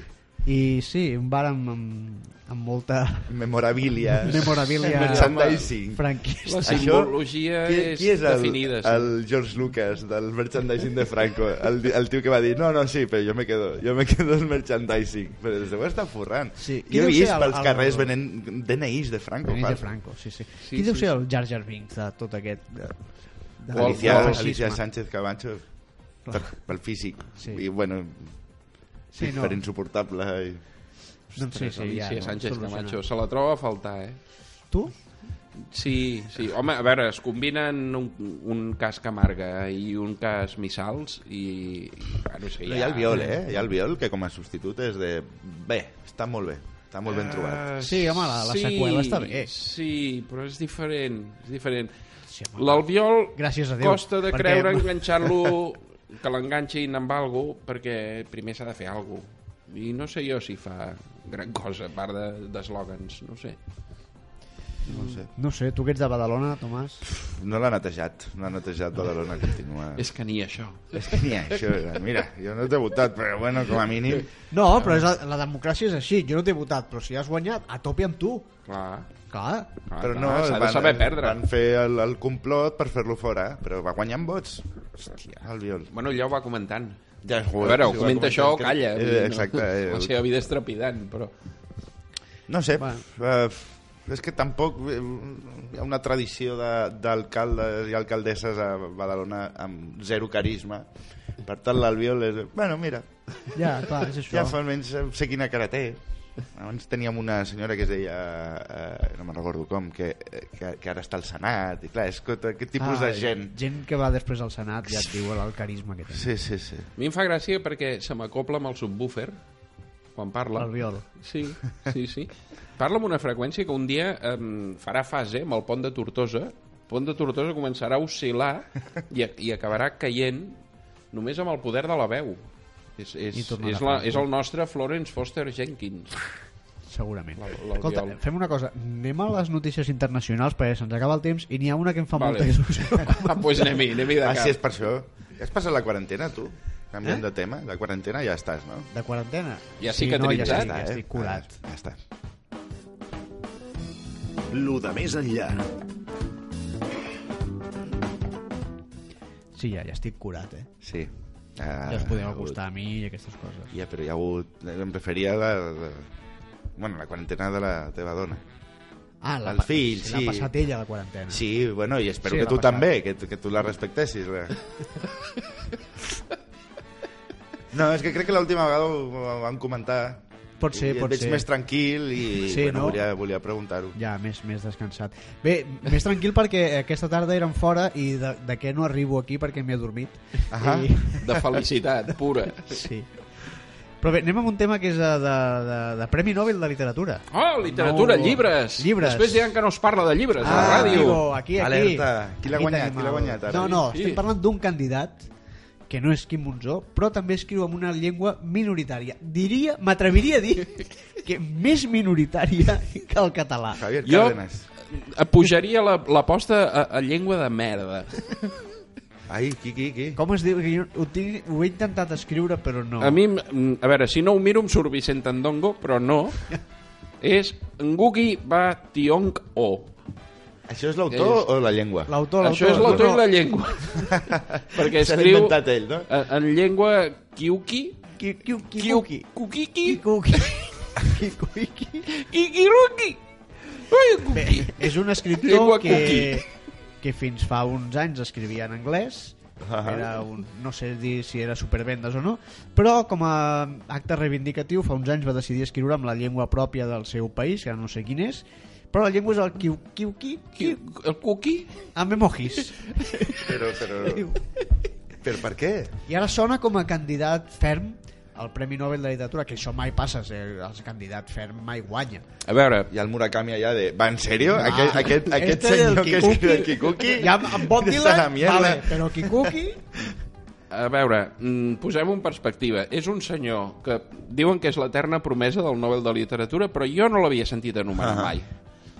B: I sí, un bar amb, amb, amb molta
D: Memorabilia.
B: memorabilia
D: Merchandising.
C: La
B: franquista.
C: simbologia
D: qui,
C: és,
D: qui és el,
C: definida. sí.
D: el George Lucas del merchandising de Franco? El, di- el tio que va dir, no, no, sí, però jo me quedo, jo me quedo el merchandising. Però es deu estar forrant.
B: Sí. Qui
D: Jo he
B: deu
D: vist
B: ser el-
D: pels
B: el-
D: carrers venent DNIs de Franco.
B: Benito
D: pare.
B: Franco, sí, sí. sí Qui deu
C: sí,
B: ser el Jar Jar Binks de tot aquest... De, de,
C: O el-
D: Alicia,
C: o el
B: fascisme?
D: Alicia Sánchez Camacho per, pel físic
B: Sí.
D: sí. i bueno
B: Sí,
D: sí,
B: no.
D: per insuportable i...
B: Doncs sí, sí, ja,
C: Alicia
B: no,
C: Sánchez
B: solucionat.
C: Camacho. Se la troba a faltar, eh?
B: Tu?
C: Sí, sí. Home, a veure, es combinen un, un cas Camarga i un cas Missals i... i bueno, sí,
D: No, hi ha el viol, eh? Hi ha el viol que com a substitut és de... Bé, està molt bé, està molt ben
C: Ah.
D: trobat.
B: Sí, home, la- la seqüela està bé.
C: Sí, però és diferent, és diferent.
B: Sí, home.
C: L'Albiol
B: Gràcies a Déu,
C: costa de
B: perquè- <laughs>
C: creure enganxar-lo que l'enganxin amb algo perquè primer s'ha de fer algo i no sé jo si fa gran cosa a part de- d'eslògans, no sé
D: No, sé.
B: No sé, tu que ets de Badalona, Tomàs.
D: no l'ha netejat, no l'ha netejat Badalona continua.
C: és que ni això
D: És que n'hi ha això. Mira, jo no t'he votat, però bueno, com a mínim...
B: No, però és la, la democràcia és així. Jo no t'he votat, però si has guanyat, a tope amb tu.
C: clar,
B: Clar.
C: clar, Ah,
D: Però
C: clar,
D: no,
C: s'ha de
D: van-
C: saber perdre
D: Van fer el, el complot per fer-lo fora, però va guanyar amb vots. Hòstia, el viol.
C: bueno, allò ho va comentant
D: Ja,
C: a
D: joder,
C: veure,
D: si
C: ho
D: va
C: comenta
D: comentar
C: això o
D: que-
C: calla vull dir,
D: Eh,
C: <laughs>
D: exacte.
C: no, la
D: Eh,
C: seva vida és trepidant però
D: no sé,
B: Bueno.
D: eh, és que tampoc eh, hi ha una tradició de- d'alcaldes i alcaldesses a Badalona amb zero carisma. Per tant, l'Albiol és... Bueno, mira,
B: Ja, clar, és això.
D: Ja fa almenys sé quina cara té. Abans teníem una senyora que es deia, eh, no me'n recordo com, que, que, que ara està al Senat, i clar, és que, aquest tipus de gent.
B: Ah, Gent que va després al Senat ja et diu el carisma que té.
D: Sí, sí, sí.
C: a mi em fa gràcia perquè se m'acopla amb el subwoofer quan parla
B: L'Albiol.
C: Sí, sí, sí. Parla amb una freqüència que un dia em farà fase amb el pont de Tortosa. El pont de Tortosa començarà a oscil·lar i, i acabarà caient només amb el poder de la veu. És, és,
B: I tornarà
C: és, la,
B: a fer.
C: és el nostre Florence Foster Jenkins.
B: Segurament.
C: L'Al- l'Albiol.
B: Escolta, fem una cosa. Anem a les notícies internacionals, perquè se'ns acaba el temps, i n'hi ha una que em fa
C: Vale.
B: molta il·lusió.
C: <laughs> Ah, pues anem-hi, anem-hi de
D: Ah,
C: cap.
D: sí, és per això. Has passat la quarantena, tu? Canviant eh? de tema, la quarantena ja estàs, no? eh?
B: De quarantena?
C: Ja
B: no, ja
C: cicatritzat?
B: estic, ja estic curat.
D: Ah, ja està.
A: Lo de més enllà.
B: Sí, ja, ja estic curat, eh?
D: Sí. Uh,
B: Ja us podeu acostar a mi i aquestes coses.
D: Ja, però hi ha hagut... Em referia a la, la... Bueno, la quarantena de la teva dona.
B: Ah, la,
D: Els
B: pa-
D: fills,
B: se l'ha
D: sí.
B: passat ella, la quarantena.
D: Sí, bueno, i espero
B: Sí,
D: sí, que
B: l'ha
D: tu
B: passat.
D: també, que, que tu la respectessis. eh. La... No, és que crec que l'última vegada ho ho vam comentar.
B: Pot ser,
D: I et
B: pot
D: veig
B: ser.
D: més tranquil i
B: Sí,
D: bueno,
B: no?
D: volia, volia preguntar-ho.
B: Ja, més, més descansat. Bé, més tranquil perquè aquesta tarda érem fora i de, de què no arribo aquí perquè m'he adormit.
D: Ahà.
B: I,
C: de felicitat pura.
B: sí. Però bé, anem amb un tema que és eh, de, de, de Premi Nobel de Literatura.
C: Oh, literatura,
B: No.
C: llibres.
B: Llibres.
C: Després diran que no es parla de llibres, a la
B: Ah,
C: ràdio.
B: amigo, aquí, aquí.
D: Alerta. Qui l'ha
B: Aquí
D: guanyat?
B: tenim
D: Qui l'ha
B: el-
D: guanyat ara?
B: No, no,
C: Sí.
B: estem parlant d'un candidat que no és Quim Monzó, però també escriu amb una llengua minoritària. Diria, m'atreviria a dir que més minoritària que el català.
D: Javier
C: Jo-
D: Cárdenas.
C: Pujaria la- l'aposta a, a llengua de merda.
D: Ai, qui, qui, qui?
B: Com es diu? Que jo ho, tinc, ho he intentat escriure, però no.
C: A mi, mm, a veure, si no ho miro em surt Vicent Andongo, però no. És Ngugi Ba Tiong O.
D: Això és l'autor
C: És-
D: o la llengua?
B: L'autor, l'autor.
C: Això és l'autor i la
D: <laughs>
C: llengua. Perquè
D: Se l'ha
C: escriu
D: inventat ell, no?
C: en, en llengua kiuki,
B: Kikuki.
C: kiuki, kukiki,
B: Kikuki. Kikuki.
C: kikiruki. Ui, kuki.
B: És un
C: Llengua
B: escriptor que, que fins fa uns anys escrivia en anglès,
D: Ahà.
B: era un, no sé dir si era supervendes o no, però com a acte reivindicatiu fa uns anys va decidir escriure amb la llengua pròpia del seu país, que ara no sé quin és, però la llengua és el kiu, kiu, kiu,
C: Ki- El kuki?
B: amb emojis.
D: Però, però, però per què?
B: I ara sona com a candidat ferm al Premi Nobel de Literatura, que això mai passa, ser el candidat ferm mai guanya.
C: A veure,
D: Hi ha el Murakami allà de... Va, en sèrio?
B: Ah.
D: Aquest, aquest, aquest
B: Este del
D: senyor que escriu el
B: Kikuki.
D: Kikuki?
B: Ja, amb Bob
D: <laughs> Que
B: Dylan,
D: se la mierda.
B: vale, però Kikuki...
C: A veure, mm, posem en perspectiva. És un senyor que diuen que és l'eterna promesa del Nobel de Literatura, però jo no l'havia sentit anomenar
D: Ah.
C: mai.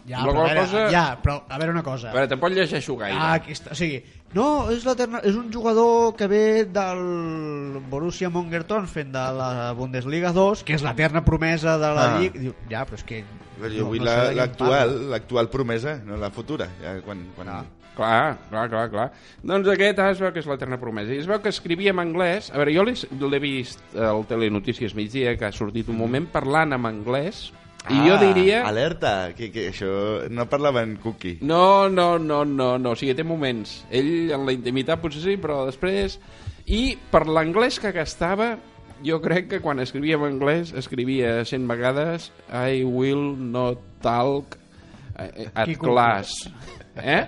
B: Ja,
C: Amb la
B: però, a
C: qual
B: veure,
C: cosa-
B: ja, però a veure una cosa.
C: A veure, tampoc llegeixo gaire.
B: Ah, aquesta, o sigui, no, és, l'eterna- és un jugador que ve del Borussia Mönchengladbach de la Bundesliga 2, que és l'eterna promesa de la
D: Ah.
B: Lliga. Diu, ja, però és que...
D: Però jo
B: no-
D: vull
B: no
D: la-
B: sé de què em
D: l'actual,
B: parla. Ah.
D: l'actual promesa, no la futura. Ja, quan, quan...
C: Clar, clar, clar, clar. Doncs aquest ah, es veu que és l'eterna promesa. I es veu que escrivia en anglès... A veure, jo l'he- l'he vist al Telenotícies migdia, que ha sortit un moment parlant en anglès,
D: Ah,
C: i jo diria...
D: Alerta, que, que això... No parlava en Cookie.
C: No, no, no, no, no. O sigui, té moments. Ell en la intimitat potser sí, però després... I per l'anglès que gastava, jo crec que quan escrivia en anglès escrivia 100 vegades I will not talk eh, at
B: Quico.
C: class. Eh?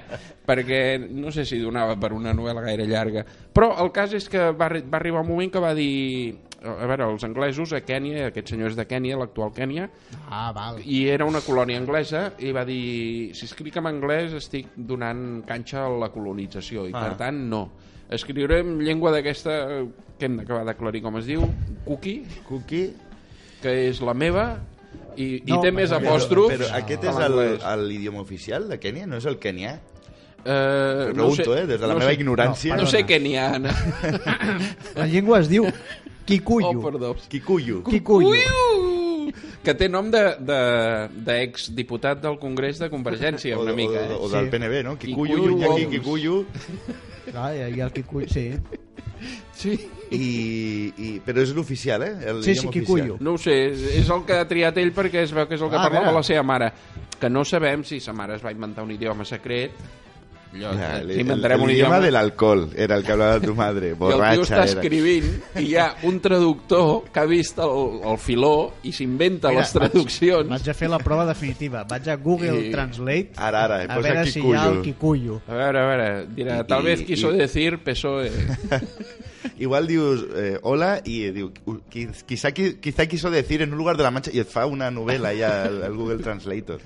C: Perquè no sé si donava per una novel·la gaire llarga. Però el cas és que va, arri- va arribar un moment que va dir... A veure, els anglesos a Kènia, aquest senyor és de Kènia, l'actual Kènia,
B: Ah, val.
C: i era una colònia anglesa i va dir, si escric en anglès estic donant canxa a la colonització i
D: Ah.
C: per tant no escriuré en llengua d'aquesta eh, que hem d'acabar d'aclarir com es diu cookie,
D: Cookie...
C: que és la meva i,
B: No,
C: i té més
B: però-
C: apòstrofs
D: Però aquest
C: a
D: és
C: l'anglès.
D: el- l'idioma oficial de Kènia? No és el kenià?
C: eh,
D: Pregunto, eh? Des de la meva
C: sé,
D: ignorància.
C: no sé què n'hi ha Anna.
D: <laughs>
B: La llengua es diu Kikuyu.
C: oh, perdó
D: Kikuyu.
B: Kikuyu.
C: Uiu! que té nom d'ex-diputat de, de, del Congrés de Convergència,
D: O,
C: una mica.
D: o,
C: Eh?
D: o del
B: Sí.
D: PNB, no? Kikuyu,
C: Kikuyu,
D: Iñaki,
C: Oms.
D: Kikuyu...
B: Ah, i el Kikuyu, sí.
C: Sí.
D: I, i, però és l'oficial, eh? El
B: Sí, sí,
D: idioma oficial.
B: Kikuyu.
C: No ho sé, és el que ha triat ell perquè es veu que és el que
B: Ah,
C: ah, parlava
B: mira.
C: la seva mare. Que no sabem si sa mare es va inventar un idioma secret. Allò,
D: Ja,
C: ja, si
D: el, el, el,
C: inventarem un idioma...
D: idioma de l'alcohol era el que hablava
C: <laughs>
D: tu madre,
C: I el tio
D: borratxa eh,
C: està
D: era.
C: escrivint i hi ha un traductor que ha vist el, el filó i s'inventa les traduccions.
B: Vaig a fer la prova definitiva. Vaig a Google
C: I-
B: Translate
D: Ara, ara,
B: a
D: posa
B: veure si hi ha
D: Kikuyu.
B: el Kikuyu.
C: A veure, a veure, dirà,
D: I-
C: tal
D: i-
C: vez quiso
D: i-
C: decir PSOE.
D: Igual dius eh, hola y diu, "Qui- quizá, qui- quizá quiso decir en un lugar de la mancha y et fa una novela ya al, al Google
C: <laughs>
D: Translator.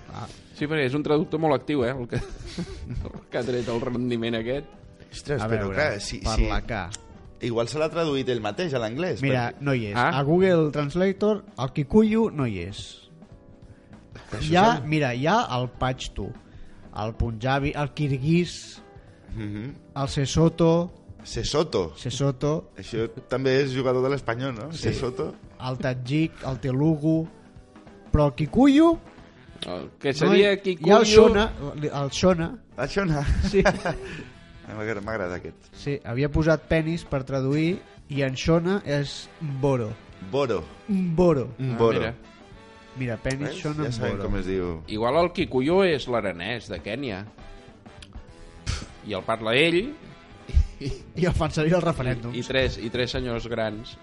C: Sí, perquè és un traductor molt actiu, eh, el que, el que ha tret el rendiment aquest.
D: Ostres,
B: A
D: però
B: veure,
D: clar, sí, sí.
B: parla que...
D: Igual se l'ha traduït ell mateix a l'anglès.
B: Mira,
D: perquè-
B: no hi és.
C: Ah?
B: Ah? A Google Translator, el Kikuyu no hi és. Hi ha, mira, hi ha el Pachtu, el Punjabi, el Kirguís,
D: Mhm.
B: el Sesoto,
D: Sesoto.
B: Sesoto,
D: Això també és jugador de l'espanyol, no? Sesoto.
B: el Tadjik, el Telugu... Però el Kikuyu,
C: El que seria
B: No, i-
C: Kikuyu...
B: I el Shona, el Shona,
D: Això no. <laughs>
B: sí,
D: M'agrada m'agrada aquest.
B: sí, havia posat penis per traduir i en Shona és Mboro.
D: Boro.
B: Mboro.
C: Ah,
D: Boro.
C: mira.
B: Mira, penis,
D: Veus?
B: Shona,
D: ja sabem
B: Mboro.
D: com es diu.
C: Igual el Kikuyu és l'aranès de Kènia. I el parla ell
B: I el fan servir al referèndum.
C: i tres, i tres senyors grans.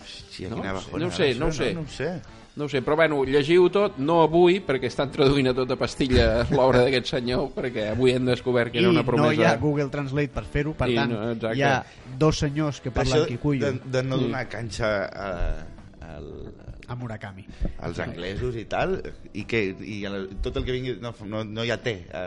D: Hòstia,
C: No?
D: quina bajona.
C: No ho sé, no ho
D: Això
C: sé.
D: No, ho sé.
C: No ho sé, però bueno, llegiu tot, no avui, perquè estan traduint a tota pastilla l'obra d'aquest senyor, perquè avui hem descobert que
B: I
C: era una
B: no hi ha
C: promesa.
B: Google Translate per fer-ho, per
C: I
B: tant,
C: no, exacte.
B: hi ha dos senyors que
D: Això eh,
B: parlen
D: de,
B: Kikuyu
D: de
C: Mm.
D: no donar canxa a, al,
B: a Murakami.
D: als anglesos i tal, i, que, i el, tot el que vingui... No, no, no hi ha té a,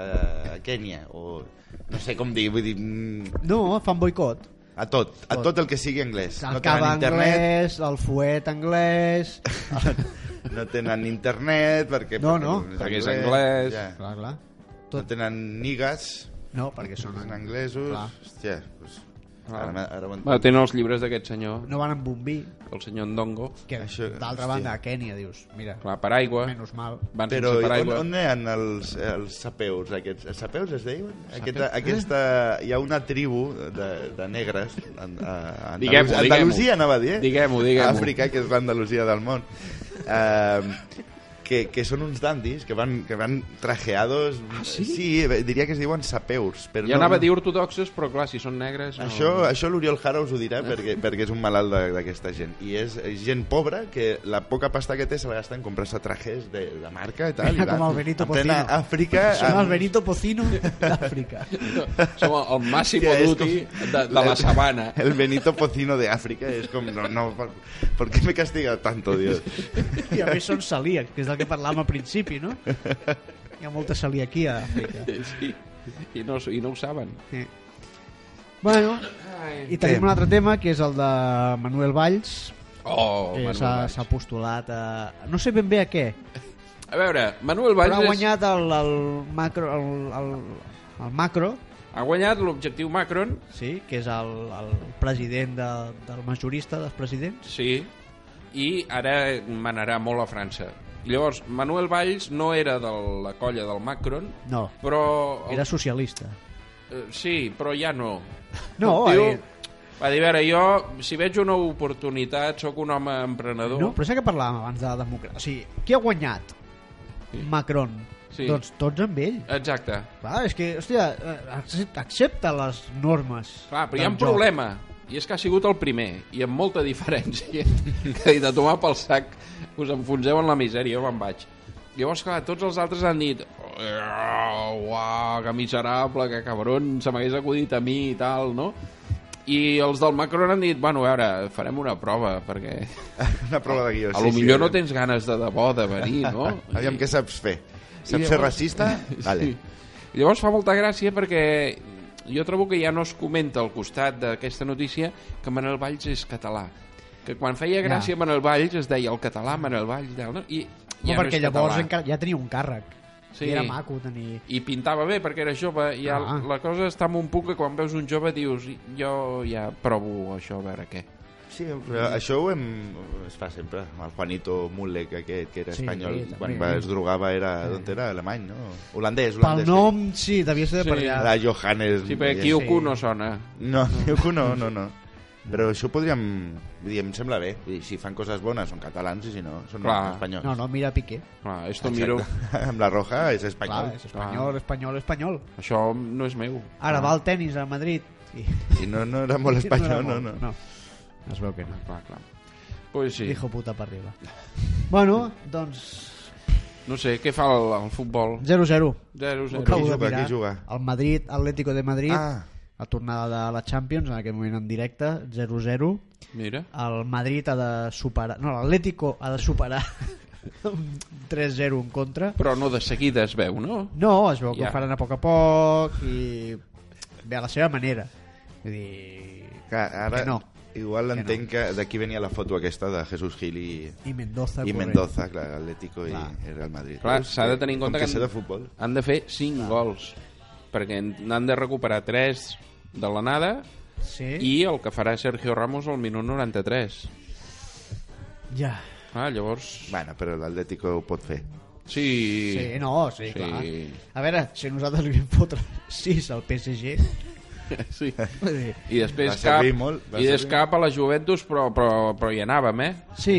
D: a Kènia, o no sé com dir, vull dir... mm,
B: No, fan boicot.
D: A tot, a tot el que sigui anglès.
B: El
D: no
B: cava
D: tenen internet,
B: anglès, el fuet
D: <laughs>
B: anglès...
D: no tenen internet, perquè...
B: No, no.
C: Perquè és anglès.
B: clar, clar.
D: No tenen nigues,
B: No, perquè són
D: són
B: anglès.
D: anglesos...
B: Clar.
D: Hòstia, doncs...
C: Clar.
D: Ara, m'ha- ara ho
C: Va,
D: entenc.
C: tenen els llibres d'aquest senyor,
B: No van amb bombí,
C: el senyor Ndongo.
B: que
D: Això, hòstia.
B: d'altra banda, a Kènia, dius, mira,
C: Clar, paraigua.
B: menys mal.
C: Van
D: Però
C: sense
D: on,
C: paraigua.
D: on eren els, els sapeus aquests? Els sapeus es deien? Aquesta, aquesta, hi ha una tribu de, de negres an- a,
C: Diguem-ho,
D: a Andalús-
C: diguem-ho.
D: Andalusia, anava a dir. eh?
C: Diguem-ho, diguem-ho.
D: Àfrica, que és l'Andalusia del món. Eh, que, que són uns dandis que van, que van trajeados... Ah, sí? Sí, diria que es diuen sapeus. Però
C: Jo anava a dir ortodoxes, però clar, si són negres... No.
D: això, això l'Oriol Jara us ho dirà
B: Eh?
D: perquè, perquè és un malalt de- d'aquesta gent i és gent pobra que la poca pasta que té se la gasta en comprar-se trajes de, de marca i tal, i
B: Mira
D: va
B: com el Benito
D: en plena
B: Pocino.
D: Àfrica
B: Són el
D: amb-
B: Benito Pocino
D: <laughs>
B: d'Àfrica.
C: Som el el Massimo
D: Hòstia, és
C: Dutti
D: com-
C: de, de
D: <laughs>
C: la sabana.
D: el Benito Pocino de África es como no, no, ¿por, por qué me castiga tanto Dios?
B: I a més són celíacs, que és del que parlàvem al principi,
D: <laughs>
B: no? Hi ha molta celiaquia a Àfrica.
C: Sí. I no, I no ho saben.
B: Sí. Bueno, i tenim un altre tema, que és el de Manuel Valls,
C: Oh,
B: que
C: Manuel
B: s'ha
C: Valls.
B: s'ha postulat a... No sé ben bé a què,
C: A veure, Manuel Valls
B: però ha
C: és-
B: guanyat el, el macro... El, el, el macro
C: ha guanyat l'objectiu Macron,
B: Sí, que és el, el president de, del majorista dels presidents.
C: sí, i ara manarà molt a França. I llavors, Manuel Valls no era de la colla del Macron,
B: No,
C: però...
B: era socialista.
C: eh, Sí, però ja no.
B: No, eh. a
C: El tio
B: veure,
C: va dir, a veure, jo, si veig una oportunitat, sóc un home emprenedor.
B: no, però és el que parlàvem abans de la democràcia. O sigui, qui ha guanyat? Macron.
C: Sí.
B: Doncs tots amb ell.
C: Exacte.
B: Clar, és que, hòstia, eh, accep- accepta les normes.
C: Clar, però hi
B: del
C: ha un
B: joc.
C: problema, i és que ha sigut el primer, i amb molta diferència, <laughs> que de tomar pel sac us enfonseu en la misèria, jo me'n vaig. Llavors, clar, tots els altres han dit uau, que miserable, que cabron, se m'hagués acudit a mi i tal, no? I els del Macron han dit, bueno, a veure, farem una prova, perquè
D: Una prueba de guión.
C: a lo millor no tens ganes de debò de venir, no?
D: eh. <laughs> Aviam què saps fer.
C: I
D: Saps ser
C: llavors-
D: racista? Vale.
C: I Llavors fa molta gràcia perquè jo trobo que ja no es comenta al costat d'aquesta notícia que Manel Valls és català. Que quan feia gràcia Manel Valls es deia el català Manel Valls, tal, no? I
B: No,
C: ja
B: perquè
C: no és
B: llavors
C: català.
B: encara ja tenia un càrrec.
C: Sí.
B: Sí. I era maco tenir...
C: I pintava bé perquè era jove i ah.
B: Ah.
C: la cosa està en un punt que quan veus un jove dius jo ja provo això a veure què.
D: Sí, però això ho hem... es fa sempre. Amb el Juanito Mulek aquest, que era
B: Sí,
D: espanyol.
B: sí,
D: quan
B: també.
D: va, es drogava era... D'on era? Alemany, no? Holandès,
B: Pel
D: holandès.
B: nom, sí, devia ser de per
C: Sí.
B: allà.
D: La Johannes...
C: Sí, perquè
D: i-
C: Kyoko no sona.
D: No, <laughs> Kyoko no, no, no. Però això podríem... Vull dir, em sembla bé. Vull dir, si fan coses bones són catalans i si no, són
C: Clar.
D: espanyols.
B: No, no, mira Piqué.
C: Clar, esto miro.
D: <laughs> Amb la roja és
B: Clar,
D: espanyol.
B: és espanyol, espanyol, espanyol.
C: Això no és meu.
B: Ara va al tennis a Madrid. I... <laughs>
D: I no, no era molt espanyol, no,
B: era
D: no.
B: molt, no. Es veu que no.
C: Clar, clar. Pues sí.
B: Hijo puta per arriba. bueno, doncs...
C: No sé, què fa el, el futbol?
B: 0-0.
C: 0
B: Ho
C: 0
B: acabo de
D: juga,
B: mirar.
D: qui juga?
B: El Madrid, Atlético de Madrid,
D: Ah.
B: la tornada de la Champions, en aquest moment en directe, 0-0.
C: Mira.
B: El Madrid ha de superar... No, l'Atlético ha de superar <laughs> un 3-0 en contra.
C: Però no de seguida es veu, no?
B: No, es veu que
C: Ja.
B: ho faran a poc a poc i... Bé, a la seva manera. Vull dir...
D: Que ara
B: Que no.
D: igual
B: no.
D: entenc que d'aquí venia la foto aquesta de Jesús Gil i,
B: I Mendoza.
D: i
B: corrent.
D: Mendoza, clar, Atlético i
B: Clar.
D: el Real Madrid.
C: Clar, s'ha de tenir en compte
D: Com
C: que,
D: que sé de futbol.
C: han de fer 5 gols. Perquè n'han de recuperar 3 de la nada
B: Sí. I...
C: i el que farà Sergio Ramos al minut 93.
B: Ja.
C: Ah, llavors...
D: Bueno, però l'Atlético ho pot fer.
C: Sí.
B: Sí, no, sí,
C: Sí.
B: sí, clar. A veure, si nosaltres li vam fotre <laughs> 6 al PSG,
C: <laughs> sí.
B: vull dir,
C: I després
D: Va servir
C: cap,
D: molt, va
C: i des
D: servir.
C: cap a la Juventus, però, però, però hi anàvem, eh?
B: sí,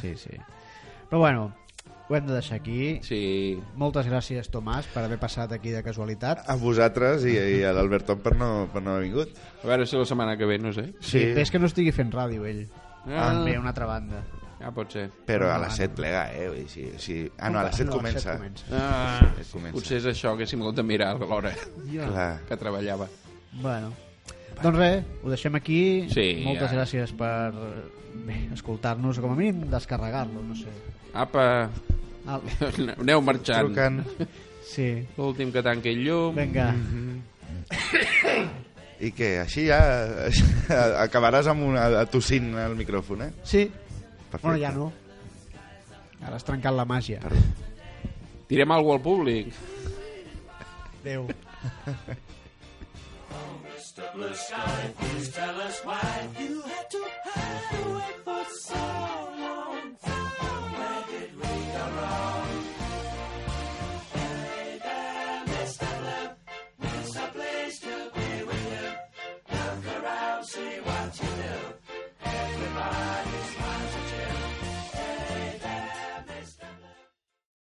B: sí, sí. Però bueno, ho hem de deixar aquí.
C: Sí.
B: Moltes gràcies, Tomàs, per haver passat aquí de casualitat.
D: A vosaltres i, i a l'Alberton per no, per no haver vingut.
C: A veure si la setmana que ve, no sé.
B: Sí. És que no estigui fent ràdio, ell.
C: Ah.
B: També, a una altra banda.
C: Ja pot ser.
D: Però a les 7 plega, eh? Vull dir, si, si... Ah, no, a les 7 comença.
C: Ah,
D: set comença.
C: potser és això, que si m'ho de mirar a l'hora
D: Clar.
C: que treballava.
B: Bueno. Doncs res, ho deixem aquí.
C: Sí,
B: Moltes
C: ja.
B: gràcies per bé, escoltar-nos, o com a mínim descarregar-lo, no sé.
C: Apa,
B: Al...
C: aneu marxant.
D: Trucant.
B: Sí,
C: L'últim que tanqui el llum.
B: vinga.
D: Mhm. I que així ja <laughs> acabaràs amb una, tossint el micròfon, eh?
B: Sí,
D: Perfecte.
B: bueno, ja no. Ara has trencat la màgia.
C: Tirem alguna al públic.
B: Adéu.
F: Mr. Blue Sky, please tell us why you had to hide away for